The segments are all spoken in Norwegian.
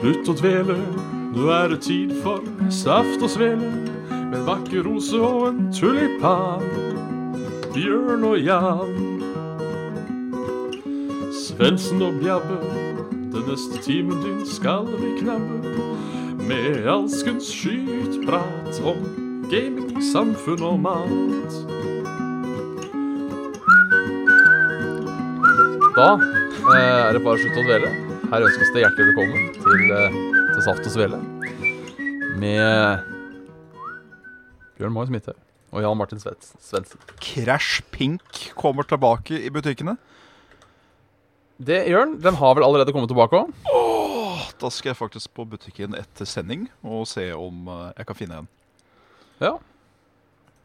Slutt å dvele, nå er det tid for saft og svele. Med en vakker rose og en tulipan. Bjørn og Jan. Svendsen og Bjabbe, den neste timen din skal vi knabbe. Med alskens skytprat om gaming, samfunn og mat. Da eh, er det bare å slutte å dvele. Her ønskes det hjertelig velkommen til, eh, til Saft og Svele med Bjørn Moy Smithaug og Jan Martin Svets- Svendsen. Crash Pink kommer tilbake i butikkene. Det, Jørn, den har vel allerede kommet tilbake òg? Da skal jeg faktisk på butikken etter sending og se om eh, jeg kan finne en. Ja.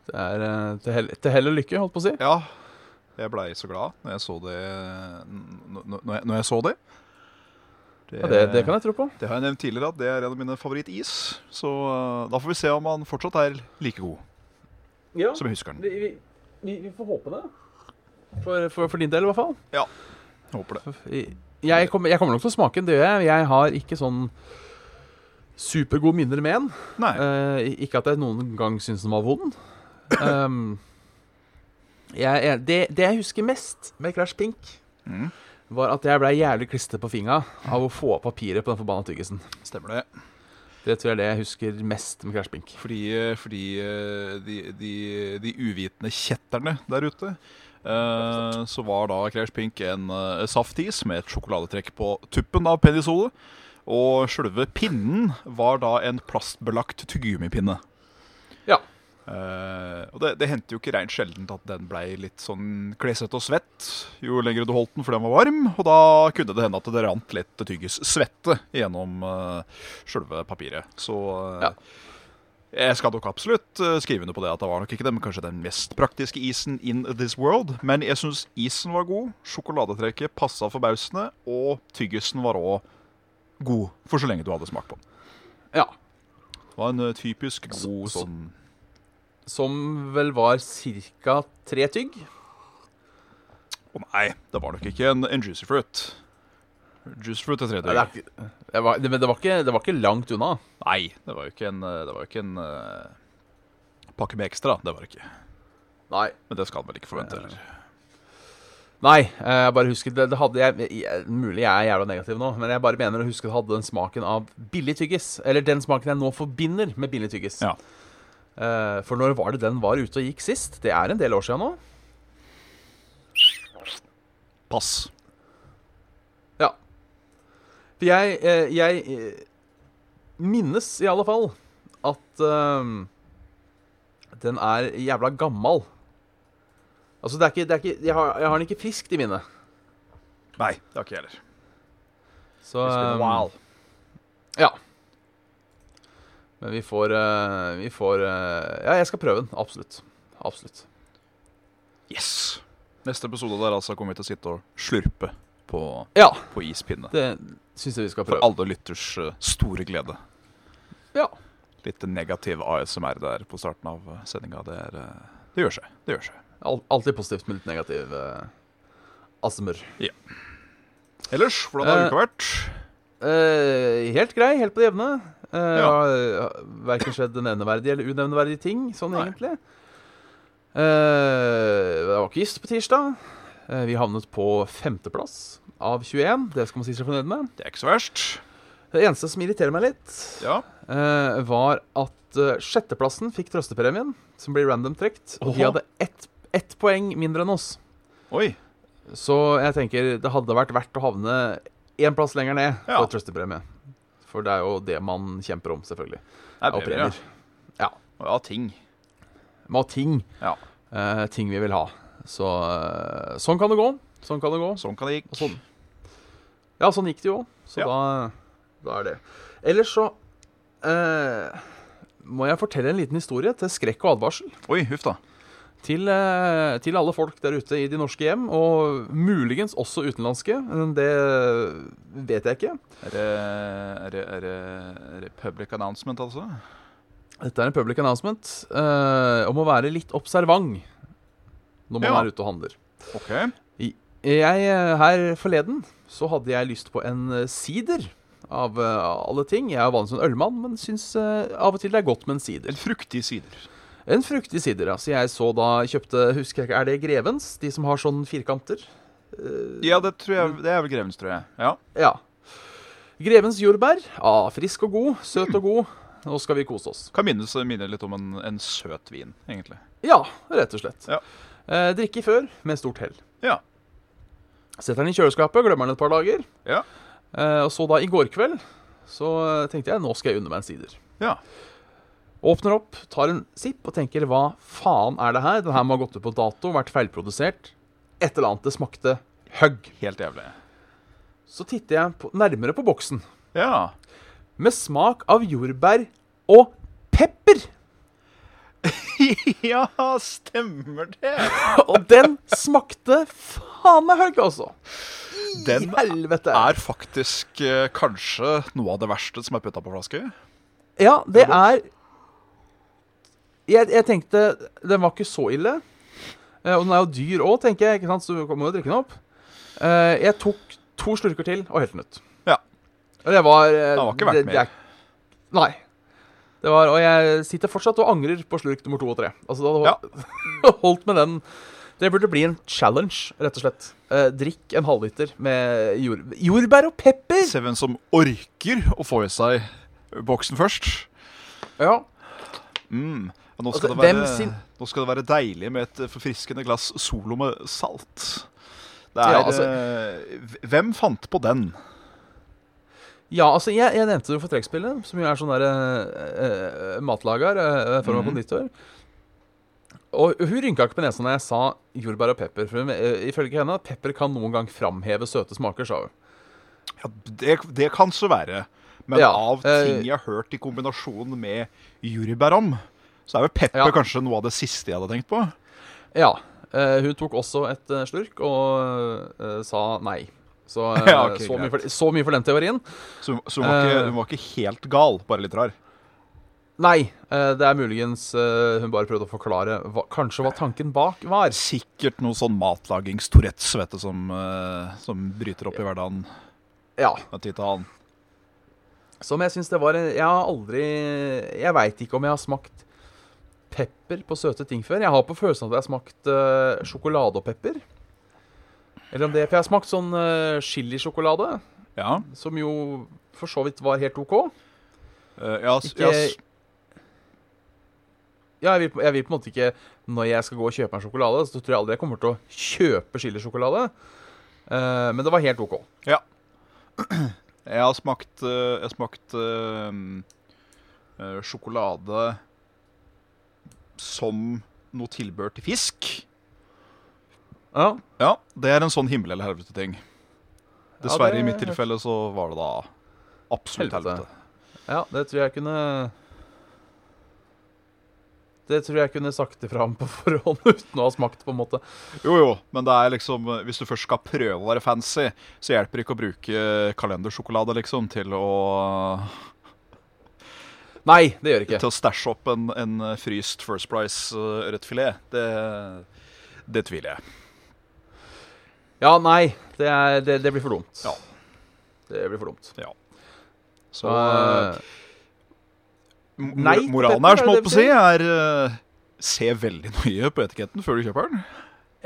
Det er eh, til hell, til hell og lykke, holdt på å si. Ja, jeg blei så glad når jeg så det n- n- Når jeg, når jeg så det. Ja, det, det kan jeg tro på. det har jeg nevnt tidligere at det er en av mine favorittis. Så eh, da får vi se om han fortsatt er like god Ja, som jeg husker den. vi, får håpe det. For, for, for din del, i hvert fall. Håper det. Jeg kommer, jeg kommer nok til å smake den, det gjør jeg. Jeg har ikke sånn supergode minner med den. Nei. Eh, i- ikke at jeg noen gang syntes den var vond. Ehm, jeg, jeg, det, det jeg husker mest med Crash Pink, Mm. var at jeg blei jævlig klistret på fingra av å få av papiret på den forbanna tyggisen. Stemmer det. Det tror jeg er det jeg husker mest med Crash Pink. Fordi, fordi eh, de, de, de uvitende kjetterne der ute eh, Så var da Crash Pink en eh, saftis med et sjokoladetrekk på tuppen av penisole. Og sjølve pinnen var da en plastbelagt tyggegummipinne. Ja. Eh, og det, det hendte jo ikke reint sjeldent at den blei litt sånn klesete og svett jo lenger du holdt den, for den var varm. Og da kunne det hende at det rant litt tyggis svette gjennom uh, sjølve papiret. Så eh, Ja. jeg skal nok absolutt eh, skrive under på det at det var nok ikke den, kanskje den mest praktiske isen in this world. Men jeg syns isen var god, sjokoladetrekket passa forbausende, og tyggisen var òg god for så lenge du hadde smakt på den. ja. Det var en eh, typisk god så- sånn Som vel var ca. tre tygg. Å nei, det var nok ikke en, en juicy fruit. Juice fruit er tredje. Nei, det, er ikke- det var, det, men det var, ikke, det var ikke langt unna. Nei, det var jo ikke en, eh, det var jo ikke en eh, pakke med ekstra. Det var det ikke. Nei. Men det skal man vel ikke forvente heller. Nei, eh, jeg bare husker det, det hadde jeg, jeg, Mulig jeg er jævla negativ nå, men jeg bare mener å huske det hadde den smaken av billig tyggis. Eller den smaken jeg nå forbinder med billig tyggis. Ja. Eh, for når var det den var ute og gikk sist? Det er en del år siden nå. Pass. Ja. For jeg, eh, jeg eh, minnes i alle fall at eh, den er jævla gammal. Altså, det er ikke, det er ikke jeg, har, jeg har den ikke friskt i minnet. Nei, det har ikke jeg heller. Så It's been a eh, while. Ja. Men vi får eh, Vi får eh, Ja, jeg skal prøve den. Absolutt. Absolutt. Yes! Neste episode der altså kommer vi til å sitte og slurpe på, Ja, på ispinne. det syns jeg vi skal For prøve. alle lytters eh, store glede. Ja. Litt negativ ASMR der på starten av sendinga. Det, er, eh, det gjør seg. Det gjør seg. Al alltid positivt med litt negativ eh, astmer. Ellers, hvordan Eh, har uka vært? Eh, helt grei, helt på det jevne. Uh, Ja. Verken skjedd nevneverdige eller unevneverdige ting, sånn Nei. egentlig. Eh, det var ikke gist på tirsdag. Eh, vi havnet på femteplass av 21. Det skal man si seg fornøyd med. Det er ikke så verst. Det eneste som irriterer meg litt, Ja. eh, var at eh, sjetteplassen fikk trøstepremien, som blir random trukket. Og de Oho. hadde ett, ett poeng mindre enn oss. Oi. Så jeg tenker det hadde vært verdt å havne én plass lenger ned Ja. for trøstepremie. For det er jo det man kjemper om, selvfølgelig. Det er Av premier, ja. premier. Ja. Og Ja, ting. Med ting. Ja. eh, ting vi vil ha. Så eh, sånn kan det gå. Sånn kan det gå. Sånn kan det gikk. Og sånn. Ja, sånn gikk det jo. Så Ja. da, da er det. Ellers så eh, må jeg fortelle en liten historie til skrekk og advarsel. Oi, huff da. Til, eh, til alle folk der ute i de norske hjem, og muligens også utenlandske. men Det vet jeg ikke. Er det, er det, er det, er det public announcement, altså? Dette er en public announcement eh, om å være litt observant når man Ja. er ute og handler. OK. Jeg, eh, her forleden så hadde jeg lyst på en eh, sider av eh, alle ting. Jeg er vanligvis en ølmann, men syns eh, av og til det er godt med en sider. En fruktig sider. En fruktig sider, ja. Så jeg så da kjøpte Husker jeg ikke, er det Grevens? De som har sånne firkanter? Ja, det, tror jeg, det er vel Grevens, tror jeg. Ja. Ja. Grevens jordbær. Ah, frisk og god. Søt og god. Nå skal vi kose oss. Kan minnes minner litt om en, en søt vin, egentlig. Ja, rett og slett. Ja. Eh, drikke før, med stort hell. Ja. Setter den i kjøleskapet, glemmer den et par dager. Ja. Eh, og så da i går kveld, så eh, tenkte jeg nå skal jeg unne meg en sider. Ja. Åpner opp, tar en sipp og tenker hva faen er det her? Den her må ha gått ut på dato, vært feilprodusert. Et eller annet. Det smakte hugg. Helt jævlig. Så titter jeg på, nærmere på boksen. Ja. Med smak av jordbær og pepper! ja, stemmer det! Og den smakte faen meg hugg, altså. I Den helvete. er faktisk eh, kanskje noe av det verste som er putta på flaske. Ja, det er jeg, jeg tenkte den var ikke så ille. Eh, Og den er jo dyr òg, tenker jeg. ikke sant? Så du må jo drikke den opp. Eh, Jeg tok to slurker til og helte den ut. Ja. Og det var eh, Den var ikke verdt det- det er- Nei. Det var, og jeg sitter fortsatt og angrer på slurk nummer to og tre. Altså, det hadde hol- holdt med den. Det burde bli en challenge, rett og slett. Eh, drikk en halvliter med jord, jordbær og pepper. Se hvem som orker å få i seg boksen først. Ja. Mm. Og nå, Altså, skal det være, hvem sin- nå skal det være deilig med et eh, forfriskende glass Solo med salt. Det er Ja, altså- eh, v- Hvem fant på den? Ja, altså jeg, jeg nevnte det jo for trekkspillet, som jo er sånn der eh, eh, matlager eh, for meg på Mhm. nyttår. Og hun rynka ikke på nesa når jeg sa jordbær og pepper. For hun, eh, ifølge henne pepper kan noen gang framheve søte smaker, sa hun. Ja, det, det kan så være. Men Ja, av eh, ting jeg har hørt i kombinasjon med jordbærom, så er vel pepper Ja. kanskje noe av det siste jeg hadde tenkt på. Ja. eh, hun tok også et eh, slurk og eh, sa nei. Så, eh, Ja, ok, så, mye greit. for, så mye for den teorien. Så, så hun, var ikke, Eh. hun var ikke helt gal, bare litt rar. Nei, eh, det er muligens eh, hun bare prøvde å forklare hva, kanskje hva tanken bak var. Sikkert noe sånn matlagings-Tourettes vet du, som, eh, som bryter opp i hverdagen. Ja, med tid til annen. Som jeg syns det var Jeg har aldri Jeg veit ikke om jeg har smakt pepper på søte ting før. Jeg har på følelsen at jeg har smakt eh, sjokolade og pepper. Eller om det For jeg har smakt sånn eh, chilisjokolade, Ja, som jo for så vidt var helt OK. eh, ja, s- Ikke- ja, s- Ja, jeg vil, på- jeg vil på en måte ikke Når jeg skal gå og kjøpe meg sjokolade, så tror jeg aldri jeg kommer til å kjøpe chilisjokolade. Eh, men det var helt OK. jeg har smakt, eh, jeg har smakt eh, eh, sjokolade som noe tilbør til fisk. Ja. Ja, det er en sånn himmel eller helvete-ting. Dessverre, det- i mitt tilfelle så var det da absolutt helvete. Helvete. Ja, det tror jeg kunne Det tror jeg kunne sagt ifra om på forhånd uten å ha smakt, på en måte. Jo, jo, men det er liksom eh, Hvis du først skal prøve å være fancy, så hjelper det ikke å bruke kalendersjokolade, liksom, til å, Nei, det gjør ikke. til å stæsje opp en, en fryst First Price eh, ørretfilet. Det, det tviler jeg. Ja, nei. Det, er, det, det blir for dumt. Ja. Det blir for dumt. Så Så eh, eh, mor- nei til moralen dette, her, som er det jeg holdt på å si, er eh, Se veldig nøye på etiketten før du kjøper den.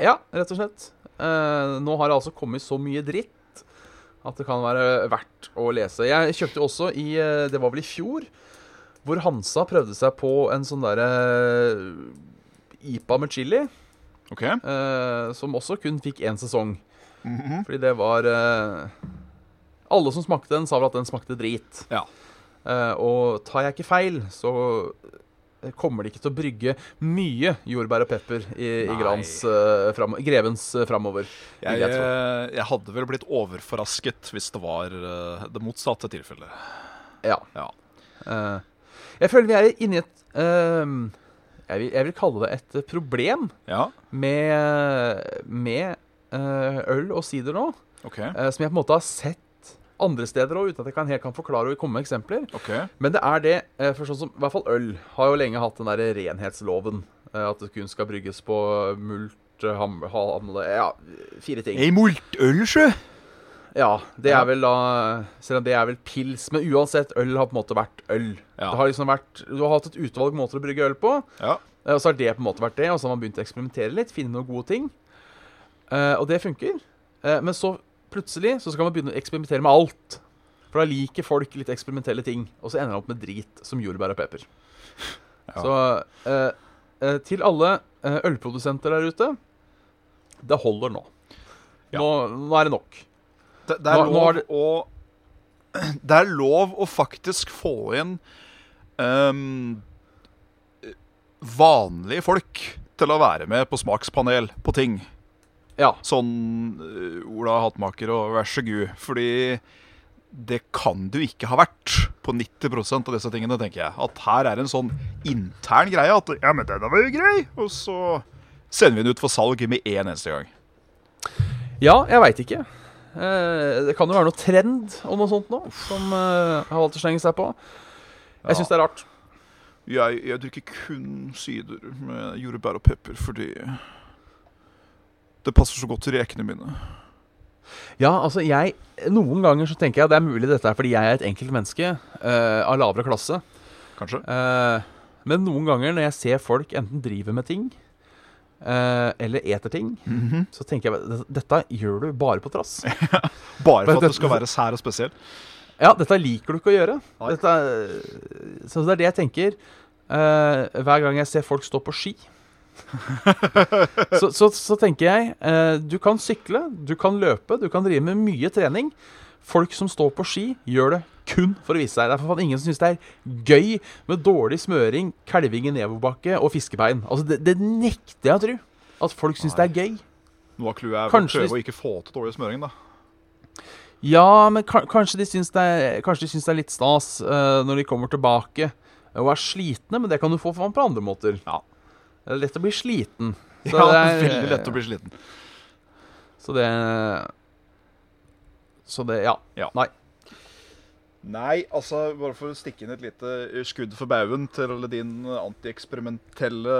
ja, rett og slett. Eh, nå har det altså kommet så mye dritt at det kan være verdt å lese. Jeg kjøpte jo også i eh, Det var vel i fjor, hvor Hansa prøvde seg på en sånn derre IPA med chili. OK? eh, som også kun fikk én sesong. Mhm. Fordi det var eh, Alle som smakte den, sa vel at den smakte drit. Ja. Eh, og tar jeg ikke feil, så eh, kommer de ikke til å brygge mye jordbær og pepper i, i Nei. Grans, eh, fram, Grevens eh, framover. Jeg, vil jeg tro. eh, jeg hadde vel blitt overforrasket hvis det var eh, det motsatte tilfellet. Ja. Ja. Eh, jeg føler vi er inni et eh, jeg, vil, jeg vil kalle det et problem Ja, med, med eh, øl og sider nå. OK. eh, som jeg på en måte har sett andre steder òg, uten at jeg kan, helt kan forklare og komme med eksempler. ok Men det er det, eh, for sånn som i hvert fall øl har jo lenge hatt den derre renhetsloven. eh, At det kun skal brygges på mult, eh, ham, hamle Ja, fire ting. Ei multøl, sjø! Ja, det Ja. er vel da Selv om det er vel pils. Men uansett, øl har på en måte vært øl. Ja. Det har liksom vært, du har hatt et utvalg måter å brygge øl på, Ja. eh, og så har det på en måte vært det. Og så har man begynt å eksperimentere litt, finne noen gode ting. Eh, og det funker. Eh, men så plutselig så skal man begynne å eksperimentere med alt. For da liker folk litt eksperimentelle ting, og så ender man opp med drit som jordbær og pepper. Ja. Så eh, eh, til alle eh, ølprodusenter der ute det holder nå. Ja. nå. Nå er det nok. Det, det, er Nå- nå lov har det- å, det er lov å faktisk få inn ehm, eh, vanlige folk til å være med på smakspanel på ting. Ja. Sånn eh, Ola Hattmaker og vær så god. Fordi det kan du ikke ha vært på 90 av disse tingene, tenker jeg. At her er en sånn intern greie at Ja, men den var jo grei! Og så sender vi den ut for salg med en eneste gang. Ja, jeg veit ikke. Eh, det kan jo være noe trend og noe sånt nå, som eh, har valgt å slenge seg på. Ja. Jeg syns det er rart. Jeg, jeg drikker kun sider med jordbær og pepper fordi det passer så godt til rekene mine. Ja, altså jeg Noen ganger så tenker jeg at det er mulig dette er fordi jeg er et enkelt menneske eh, av lavere klasse. Kanskje? Eh, men noen ganger når jeg ser folk enten driver med ting eh, eller eter ting, så tenker jeg dette gjør du bare på trass. Bare Men for at dette- det skal være sær og spesiell. Ja, dette liker du ikke å gjøre. Nei. Dette er, så det er det jeg tenker eh, hver gang jeg ser folk stå på ski. så, så, så tenker jeg eh, du kan sykle, du kan løpe, du kan drive med mye trening. Folk som står på ski, gjør det kun for å vise seg. Det er for faen ingen som syns det er gøy med dårlig smøring, kalving i nedoverbakke og fiskebein. Altså, det, det nekter jeg å tro. At folk syns det er gøy. Noe av clouet er å Kanskje prøve hvis- å ikke få til dårlig smøring, da. Ja, men ka- kanskje de syns det er, kanskje de syns det er litt stas eh, når de kommer tilbake og er slitne, men det kan du få faen på andre måter. Ja. Det er lett å bli sliten. Så ja, det er det er- veldig lett å bli sliten. Så det Så det Ja. Ja. Nei. Nei, altså, bare for å stikke inn et lite eh, skudd for baugen til alle din antieksperimentelle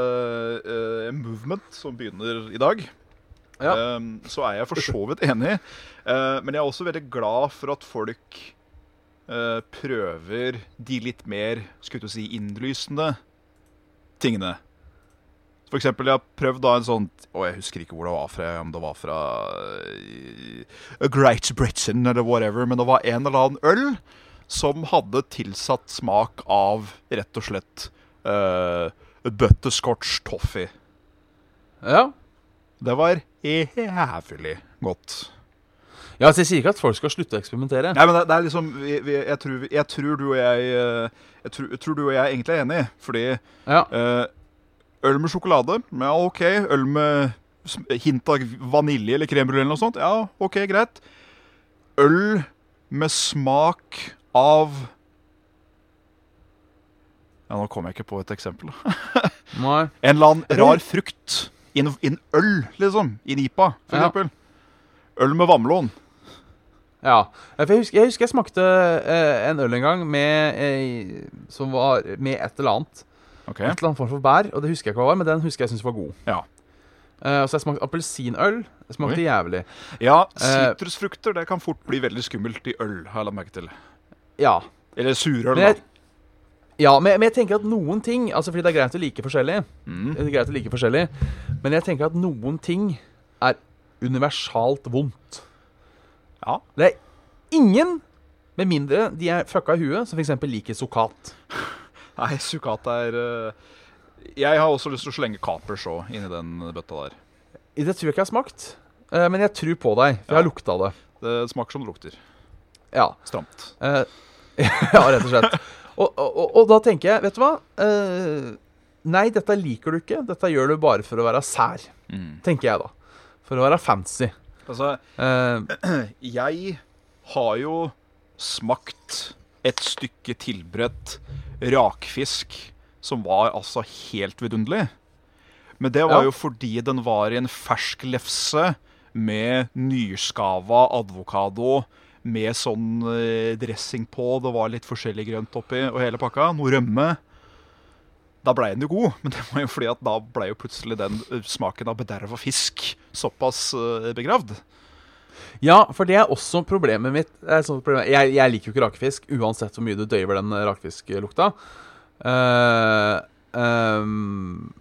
eh, movement som begynner i dag. Ja. Ehm, så er jeg for så vidt enig. Eh, men jeg er også veldig glad for at folk eh, prøver de litt mer skulle jeg til å si, innlysende tingene. For eksempel, jeg har prøvd da en sånn Å, jeg husker ikke hvor det var fra. Om det var fra eh, Great Britain eller whatever. Men det var en eller annen øl som hadde tilsatt smak av rett og slett uh, butterscotch toffee. ja. Det var jævlig godt. Ja, så Jeg sier ikke at folk skal slutte å eksperimentere. Nei, men det, det er liksom vi, vi, jeg, tror, vi- jeg tror du og jeg eh, Jeg tror, jeg tror du og jeg egentlig er enige. Fordi Ja. eh, øl med sjokolade Ja, OK. Øl med sm- hint av vanilje eller crème brûlée eller noe sånt. Ja, OK, greit. Øl med smak av Ja, nå kom jeg ikke på et eksempel. Nei. En eller annen rar frukt. Inn inn øl, liksom. Inn IPA, for Ja. eksempel. Øl med vannmelon. Ja. Ja, For jeg husker jeg, husker jeg smakte eh, en øl en gang med, eh, som var med et eller annet. Ok. Et eller annet form for bær, og det husker jeg ikke hva var, men den husker jeg syntes var god. Ja. Eh, og så har jeg smakt appelsinøl. Det smakte Oi. jævlig. Ja, Eh, sitrusfrukter det kan fort bli veldig skummelt i øl, har jeg lagt merke til. Ja. Eller surøl, Men da. jeg, ja, men, men jeg tenker at noen ting Altså fordi det er greit å like forskjellig, Mm. det er greit å like forskjellig men jeg tenker at noen ting er universalt vondt. Ja. Det er ingen, med mindre de er fucka i huet, som f.eks. liker sokat. Nei, sukat er eh, Jeg har også lyst til å slenge kapers òg inni den bøtta der. Det tror jeg ikke jeg har smakt, eh, men jeg tror på deg, for jeg har lukta det. Det smaker som det lukter. Ja Stramt. Eh, ja, rett og slett. Og, og, og, og da tenker jeg, vet du hva? Eh, nei, dette liker du ikke. Dette gjør du bare for å være sær, Mm. tenker jeg da. For å være fancy. Altså, Eh, jeg har jo smakt et stykke tilberedt rakfisk som var altså helt vidunderlig. Men det var Ja. jo fordi den var i en fersk lefse med nyskava advokado med sånn eh, dressing på, det var litt forskjellig grønt oppi og hele pakka. Noe rømme. Da blei den jo god, men det var jo fordi at da blei jo plutselig den eh, smaken av bederva fisk såpass eh, begravd. Ja, for det er også problemet mitt. Det er et sånt problem. Jeg, jeg liker jo ikke rakefisk, uansett hvor mye du døyver den rakefisklukta. Eh, ehm,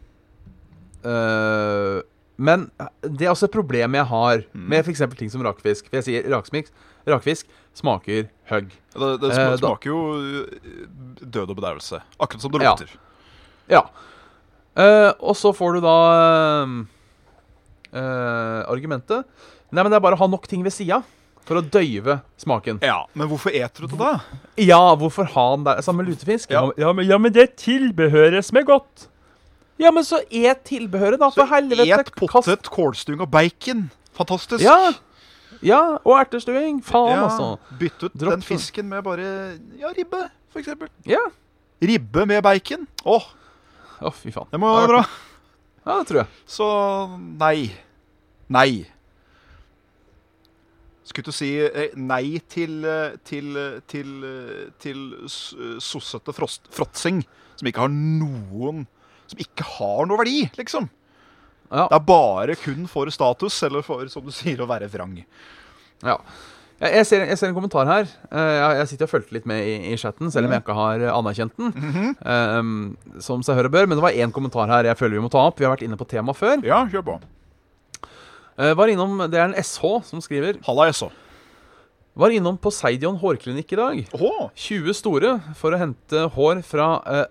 eh, men det er også et problem jeg har med f.eks. ting som rakefisk. For jeg sier rakesmiks, rakefisk smaker hugg. Det, det Eh, da- smaker jo eh, død og bedøvelse. Akkurat som det Ja. lukter. Ja. Eh, og så får du da eh, eh, argumentet. Nei, men det er bare å ha nok ting ved sida for å døyve smaken. Ja. Men hvorfor eter du det, da? Ja, hvorfor ha den der? Samme lutefisk? Ja. men, ja, men det tilbehøret som er godt. Ja, men så et tilbehøret, da. For helvete. Et potet, kålstung og bacon. Fantastisk. Ja. ja. Og ertestuing. Faen, altså. Bytt ut Dropp den fisken med bare ja, ribbe, for eksempel. Ja. Ribbe med bacon. Åh, Å, fy faen. det må være bra. Ja, det tror jeg. Så nei. Nei. Skulle du si eh, nei til, eh, til, eh, til, eh, til s- eh, sossete frost- fråtsing, som ikke har noen Som ikke har noe verdi, liksom. Ja. Det er bare kun for status, eller for, som du sier, å være vrang. Ja. Jeg, jeg, ser, jeg ser en kommentar her. Eh, jeg, jeg sitter og fulgte litt med i, i chatten, selv om jeg ikke har eh, anerkjent den. eh, som seg hør og bør. Men det var én kommentar her jeg føler vi må ta opp. Vi har vært inne på temaet før. Ja, kjør på. Eh, var innom, Det er en SH som skriver Halla, jeg så. Var innom Poseidion hårklinikk i dag. Åh, 20 store for å hente hår fra eh,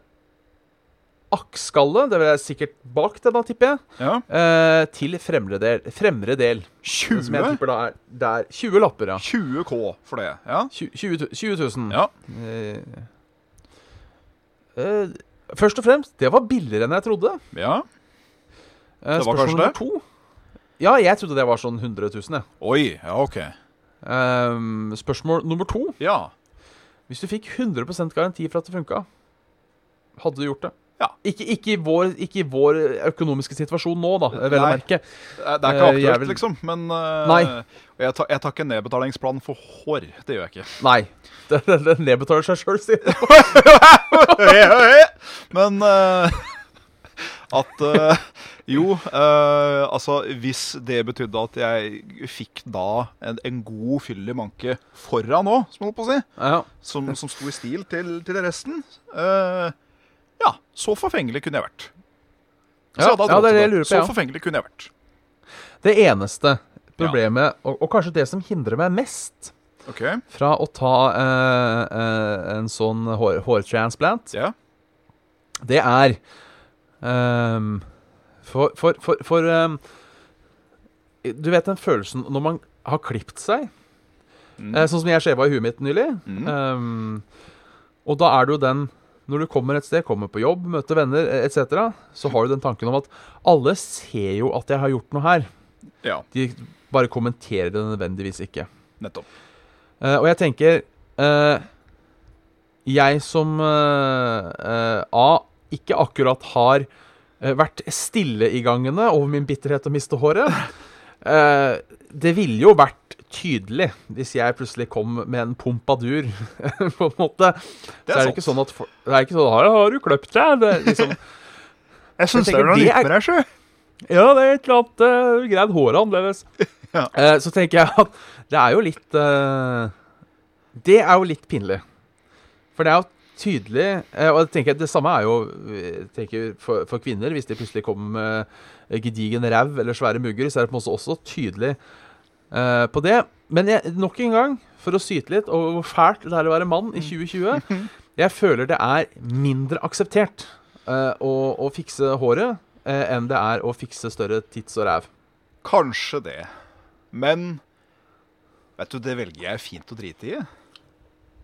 akskallet, det er sikkert bak det, da, tipper jeg, ja. eh, til fremre del. Fremre del som jeg 20? tipper da er der. 20 lapper, ja. 20K for det. Ja. 20 tu- 20 000. ja. Eh, eh, først og fremst, det var billigere enn jeg trodde. ja. Eh, Det var spørsmål kanskje nummer det? to. Ja, jeg trodde det var sånn 100 000, jeg. Oi. Ja, OK. Ehm, spørsmål nummer to. Ja. Hvis du fikk 100 garanti for at det funka, hadde du gjort det? Ja. Ikke, ikke, i vår, ikke i vår økonomiske situasjon nå, da, vel å Nei. merke. Det er det er ikke Eh, jeg aktuelt, vil- liksom. Men eh, Nei. og Jeg, tar, jeg tar ikke nedbetalingsplan for hår. Det gjør jeg ikke. Nei. Det, det, det nedbetaler seg sjøl, sier jeg. Men eh, at eh, Jo, eh, altså Hvis det betydde at jeg fikk da en, en god fyll i manke foran òg, som jeg holdt på å si, Ja. som, som sto i stil til, til resten eh, Ja, så forfengelig kunne jeg vært. Så Ja, hadde jeg ja, det er det hatt råd jeg til lurer på. Så Ja. forfengelig kunne jeg vært. Det eneste problemet, og, og kanskje det som hindrer meg mest Ok, fra å ta eh, eh, en sånn hår, hårtransplant, ja. det er ehm, For, for, for, for ehm, Du vet den følelsen når man har klipt seg? Mm. Eh, sånn som jeg skjeva i huet mitt nylig. Mm. Ehm, og da er det jo den Når du kommer et sted, kommer på jobb, møter venner eh, etc., så har du den tanken om at alle ser jo at jeg har gjort noe her. Ja, De bare kommenterer det nødvendigvis ikke. nettopp. Eh, og jeg tenker eh, Jeg som eh, eh, A. Ikke akkurat har eh, vært stille i gangene over min bitterhet og miste håret. eh, det ville jo vært tydelig hvis jeg plutselig kom med en pompadur, på en måte. Det så er det ikke sånn at for, Det er ikke sånn har, 'Har du kløpt deg?' Det, er liksom, Jeg syns Jeg tenker det er- deg, sjø. ja, det er et eller annet uh, greid håret annerledes. Ja. Eh, så tenker jeg at det er jo litt eh, Det er jo litt pinlig. For det er jo tydelig eh, Og jeg tenker, det samme er jo eh, tenker for, for kvinner. Hvis de plutselig kommer med gedigen ræv eller svære mugger, så er det på en måte også tydelig eh, på det. Men jeg, nok en gang, for å syte litt over hvor fælt det er å være mann i 2020 Jeg føler det er mindre akseptert eh, å, å fikse håret eh, enn det er å fikse større tits og ræv. Kanskje det. Men vet du, det velger jeg fint å drite i.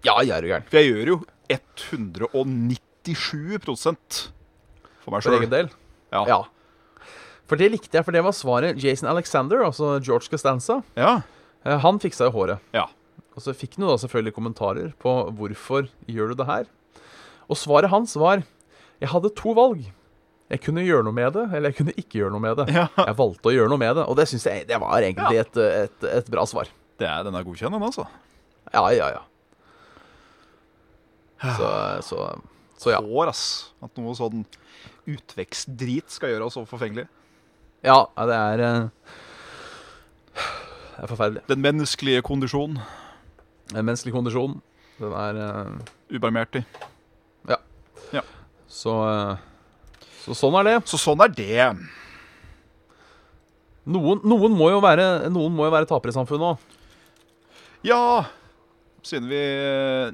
Ja, jeg er jo gæren. For jeg gjør jo 197 for meg For sjøl. egen del. Ja. Ja. For det likte jeg, for det var svaret Jason Alexander, altså George Costanza, Ja. eh, han fiksa jo håret. Ja. Og så fikk han jo da selvfølgelig kommentarer på hvorfor gjør du det her. Og svaret hans var jeg hadde to valg. Jeg kunne gjøre noe med det, eller jeg kunne ikke gjøre noe med det. Ja. Jeg valgte å gjøre noe med det, og det syns jeg det var egentlig et, et, et bra svar. Det er, den er godkjent, den, altså. Ja, ja, ja. Så, så, så ja. Hår, ass. At noe sånn utvekstdrit skal gjøre oss så forfengelige. Ja, ja, det er eh, Det er forferdelig. Den menneskelige kondisjon. En menneskelig kondisjon. Den er eh, Ubarmhjertig. så, eh, så sånn er det. Så sånn er det. Noen, noen, må jo være, noen må jo være tapere i samfunnet òg. Ja, siden vi eh,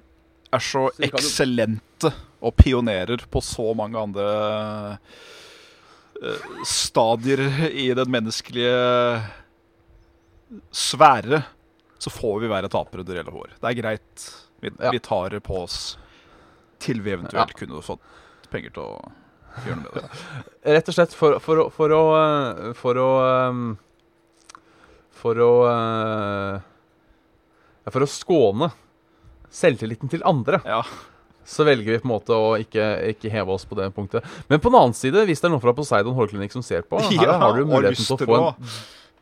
er så Så vi kan jo- eksellente og pionerer på så mange andre eh, stadier i den menneskelige sfære, så får vi være tapere under hele år. Det er greit. Vi, Ja. vi tar det på oss til vi eventuelt kunne fått penger til å gjøre noe med det. Rett og slett for, for, å- for å eh, For å ehm, For å eh, ja, For å skåne selvtilliten til andre, Ja. så velger vi på en måte å ikke, ikke heve oss på det punktet. Men på den annen side, hvis det er noen fra Poseidon hårklinikk som ser på, her Ja, har du og muligheten lyst til å til få å- en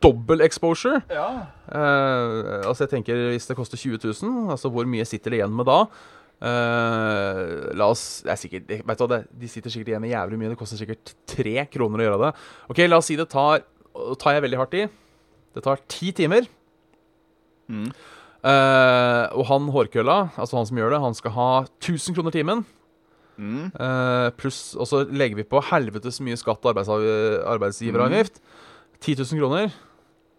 dobbel exposure. Ja. Eh, altså jeg tenker Hvis det koster 20 000, altså hvor mye sitter det igjen med da? Eh, la oss det er sikkert, jeg vet du hva, det, De sitter sikkert igjen med jævlig mye. Det koster sikkert tre kroner å gjøre det. Ok, La oss si det tar og tar jeg veldig hardt i. Det tar ti timer. Mm. Eh, og han hårkølla, altså han som gjør det, han skal ha 1000 kroner timen. Mm. Eh, pluss, og så legger vi på helvetes mye skatt og arbeidsgiv- arbeidsgiveravgift. 10 000 kroner.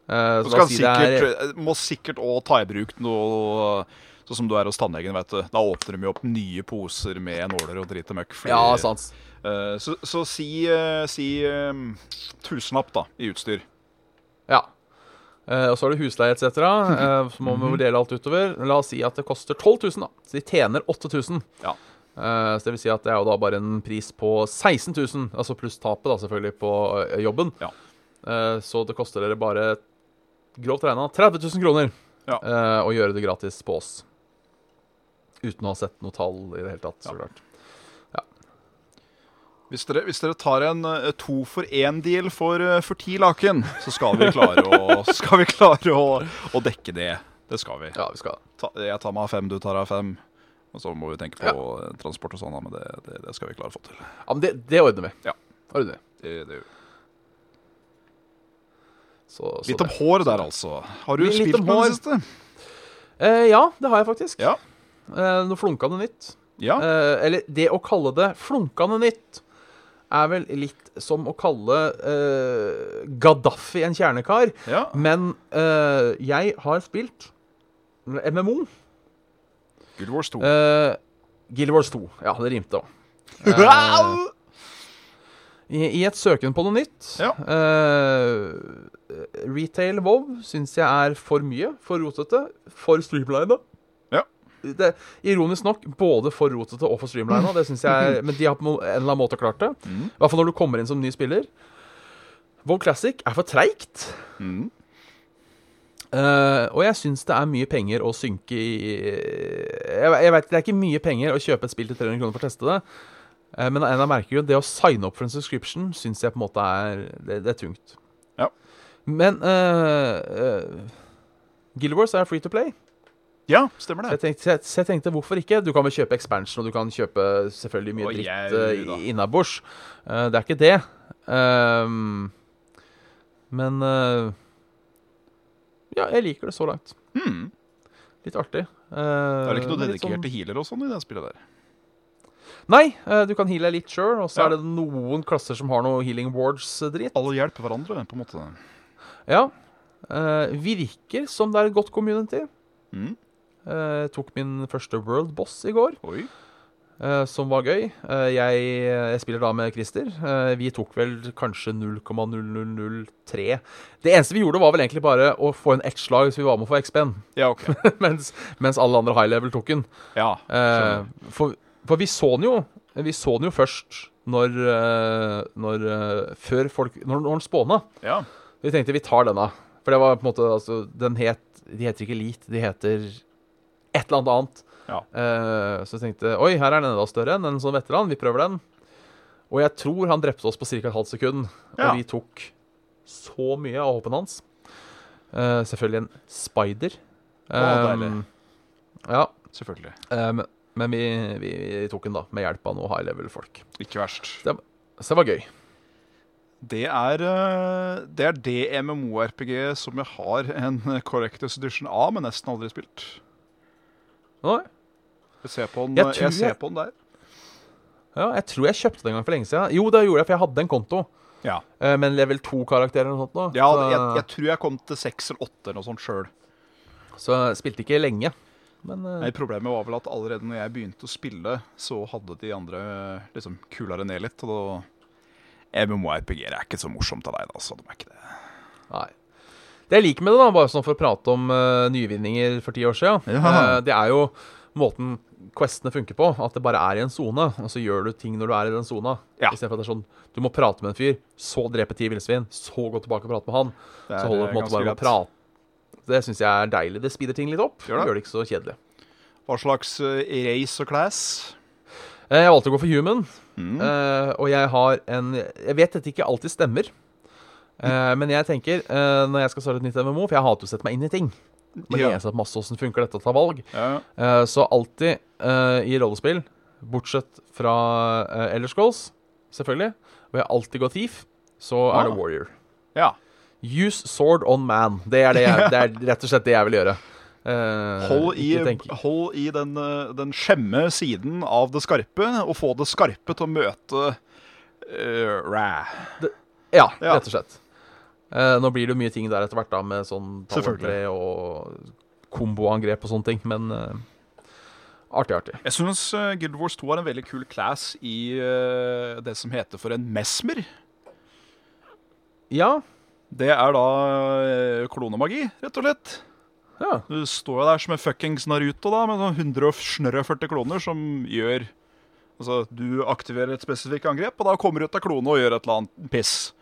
Eh, Og så Mm. så la kan oss si det er sikkert, eh, må sikkert òg ta i bruk noe Sånn som du er hos tannlegen, vet du. Da åpner de jo opp nye poser med nåler og drit og møkk. fordi- Ja, sant. Eh, så, så si, eh, si eh, tusenlapp, da, i utstyr. Ja. Eh, og så er det husleie etc. Eh, så må vi Mhm. vurdere alt utover. La oss si at det koster 12 000, da. Så de tjener 8000. Ja. Eh, så det vil si at det er jo da bare en pris på 16 000, altså pluss tapet da selvfølgelig på eh, jobben. Ja. Eh, så det koster dere bare grovt regna 30 000 kroner Ja. eh, å gjøre det gratis på oss. Uten å ha sett noe tall i det hele tatt, så Ja. klart. Hvis dere, hvis dere tar en eh, to for én-deal for, eh, for ti laken, så skal vi klare å, skal vi klare å, å dekke det. Det skal vi. Ja, vi skal Ta, jeg tar meg av fem, du tar av fem. Og så må vi tenke på eh, transport og sånn, da, men det, det, det skal vi klare å få til. Ja, men det, det ordner vi. Ja. Ordner vi. Det, det, Så, så litt om det. hår der, altså. Har du Litt spilt om noe i hår. det siste? Eh, ja, det har jeg faktisk. Ja. Eh, nå flunka det nytt. Ja. Eh, eller det å kalle det flunkende nytt er vel litt som å kalle eh, Gaddafi en kjernekar. Ja. Men eh, jeg har spilt MMO. Guild Wars 2. Eh, Guild Wars 2. Ja, det rimte òg. Au! eh, I, I et søken på noe nytt. Ja. Eh, retail WoW syns jeg er for mye, for rotete, for streamlina. Ja. Det, ironisk nok både for rotete og for streamlina. Det synes jeg er, men de har på en eller annen måte klart det. Mm. I hvert fall når du kommer inn som ny spiller. WoW Classic er for treigt. Mm. Eh, og jeg syns det er mye penger å synke i Jeg, jeg vet, Det er ikke mye penger å kjøpe et spill til 300 kroner for å teste det. Eh, men jeg merker jo det å signe opp for en subscription syns jeg på en måte er Det, det er tungt. Ja. Men eh, eh, Guild Wars er free to play. Ja, stemmer Så jeg, det. tenkte, så jeg- så jeg tenkte hvorfor ikke? Du kan vel kjøpe expansion, og du kan kjøpe selvfølgelig mye Å, dritt jau eh, da. i- innabords. Eh, det er ikke det. Ehm, men eh, Ja, jeg liker det så langt. Mm. Litt artig. Eh, Er det ikke noe dedikerte healer og sånn i det spillet der? Nei, eh, du kan heale deg litt sjøl, og så Ja. er det noen klasser som har noe healing wards-dritt. Alle hjelper hverandre, på en måte. Ja. Eh, virker som det er et godt community. Mm. Eh, tok min første world boss i går. Oi. eh, som var gøy. Eh, jeg, jeg spiller da med Christer. Eh, vi tok vel kanskje 0,0003. Det eneste vi gjorde, var vel egentlig bare å få en ett-slag så vi var med å få XP-en. Ja, OK. mens, mens alle andre high level tok den. Ja. Eh, skjønner. for, for vi så den jo Vi så den jo først når, eh, når eh, Før folk Når, når den spåna. ja. Vi tenkte vi tar denne. For det var på en måte altså, Den het De heter ikke Elite, de heter et eller annet annet. Ja. Eh, så jeg tenkte oi, her er den enda større enn en sånn veteran. Vi prøver den. Og jeg tror han drepte oss på ca. et halvt sekund. Ja. Og vi tok så mye av håpen hans. Eh, selvfølgelig en spider. Å, Um, ja, Selvfølgelig. eh, men- men vi, vi, vi tok den, da, med hjelp av noen high level-folk. Ikke verst. Så det var gøy. Det er eh, det, er det MMO-RPG som jeg har en eh, Correctus Edition av, men nesten aldri spilt. Nei. Jeg ser på den, Jeg jeg tror ser jeg- på den der. Ja, jeg tror jeg kjøpte det en gang for lenge siden. Jo, det gjorde jeg, for jeg hadde en konto. Ja, eh, Med en level 2-karakter eller noe sånt. nå. ja så, jeg, jeg tror jeg kom til seks eller åtte eller noe sånt sjøl. så jeg spilte ikke lenge. Men eh, Problemet var vel at allerede når jeg begynte å spille, så hadde de andre eh, liksom kula det ned litt. Og da MMO-RPG-er er ikke så morsomt av deg, da. Så de er ikke det. Nei. Det jeg liker med det, da, bare sånn for å prate om eh, nyvinninger for ti år siden, Ja. eh, det er jo måten questene funker på. At det bare er i en sone, og så gjør du ting når du er i den sona. Ja. Istedenfor at det er sånn du må prate med en fyr, så drepe ti villsvin, så gå tilbake og prate med han. Det eh, så holder du på en måte ganske bare med å greit. prate. Det syns jeg er deilig. Det speeder ting litt opp. Gjør det. Gjør det ikke så kjedelig. Hva slags eh, race og class? Eh, Jeg valgte å gå for human, Mm. eh, og jeg har en Jeg vet dette ikke alltid stemmer, eh, Mm. men jeg tenker, eh, når jeg skal starte et nytt MMO, for jeg hater å sette meg inn i ting må Ja. lese opp masse åssen funker dette å ta valg. Ja. Eh, så alltid eh, i rollespill, bortsett fra uh, Elder Scrolls, selvfølgelig, hvor jeg alltid går thief, så er det Ah. warrior. ja. Use sword on man. Det er, det jeg, det er rett og slett det jeg vil gjøre. Eh, Hold i, ikke tenke- hold i den, eh, den skjemme siden av det skarpe, og få det skarpe til å møte eh, Ra. Ja, Ja. rett og slett. Eh, nå blir det jo mye ting der etter hvert, da, med sånn Selvfølgelig. tallertre og komboangrep og sånne ting, men eh, artig, artig. Jeg syns Guild Wars 2 er en veldig kul class i eh, det som heter for en mesmer. Ja. Det er da eh, klonemagi, rett og slett. ja. Du står jo der som en fuckings Naruto da, med sånn 140 kloner som gjør Altså, du aktiverer et spesifikt angrep, og da kommer du ut av klone og gjør et eller annet piss.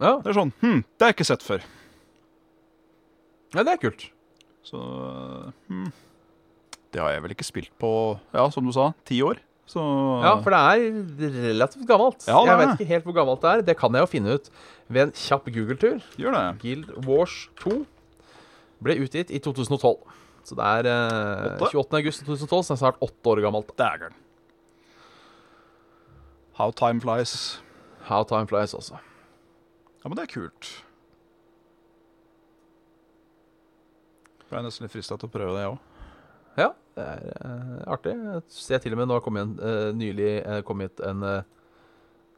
ja. Det er sånn Hm, det har jeg ikke sett før. Ja, det er kult. Så hm. Det har jeg vel ikke spilt på, ja, som du sa, ti år. Så Ja, for det er relativt gammelt. Ja, det jeg er vet det. ikke helt hvor gammelt det er. Det kan jeg jo finne ut ved en kjapp Google-tur. gjør det. Guild Wars 2 ble utgitt i 2012. Så det er eh, Åtte? 28. august 2012, så det er snart åtte år gammelt. Dægeren. How time flies. How time flies, altså. Ja, men det er kult. Ble jeg nesten litt frista til å prøve det, jeg òg. Ja, det er eh, artig. Jeg ser til og med nå har kommet en, eh, nylig eh, kommet en eh,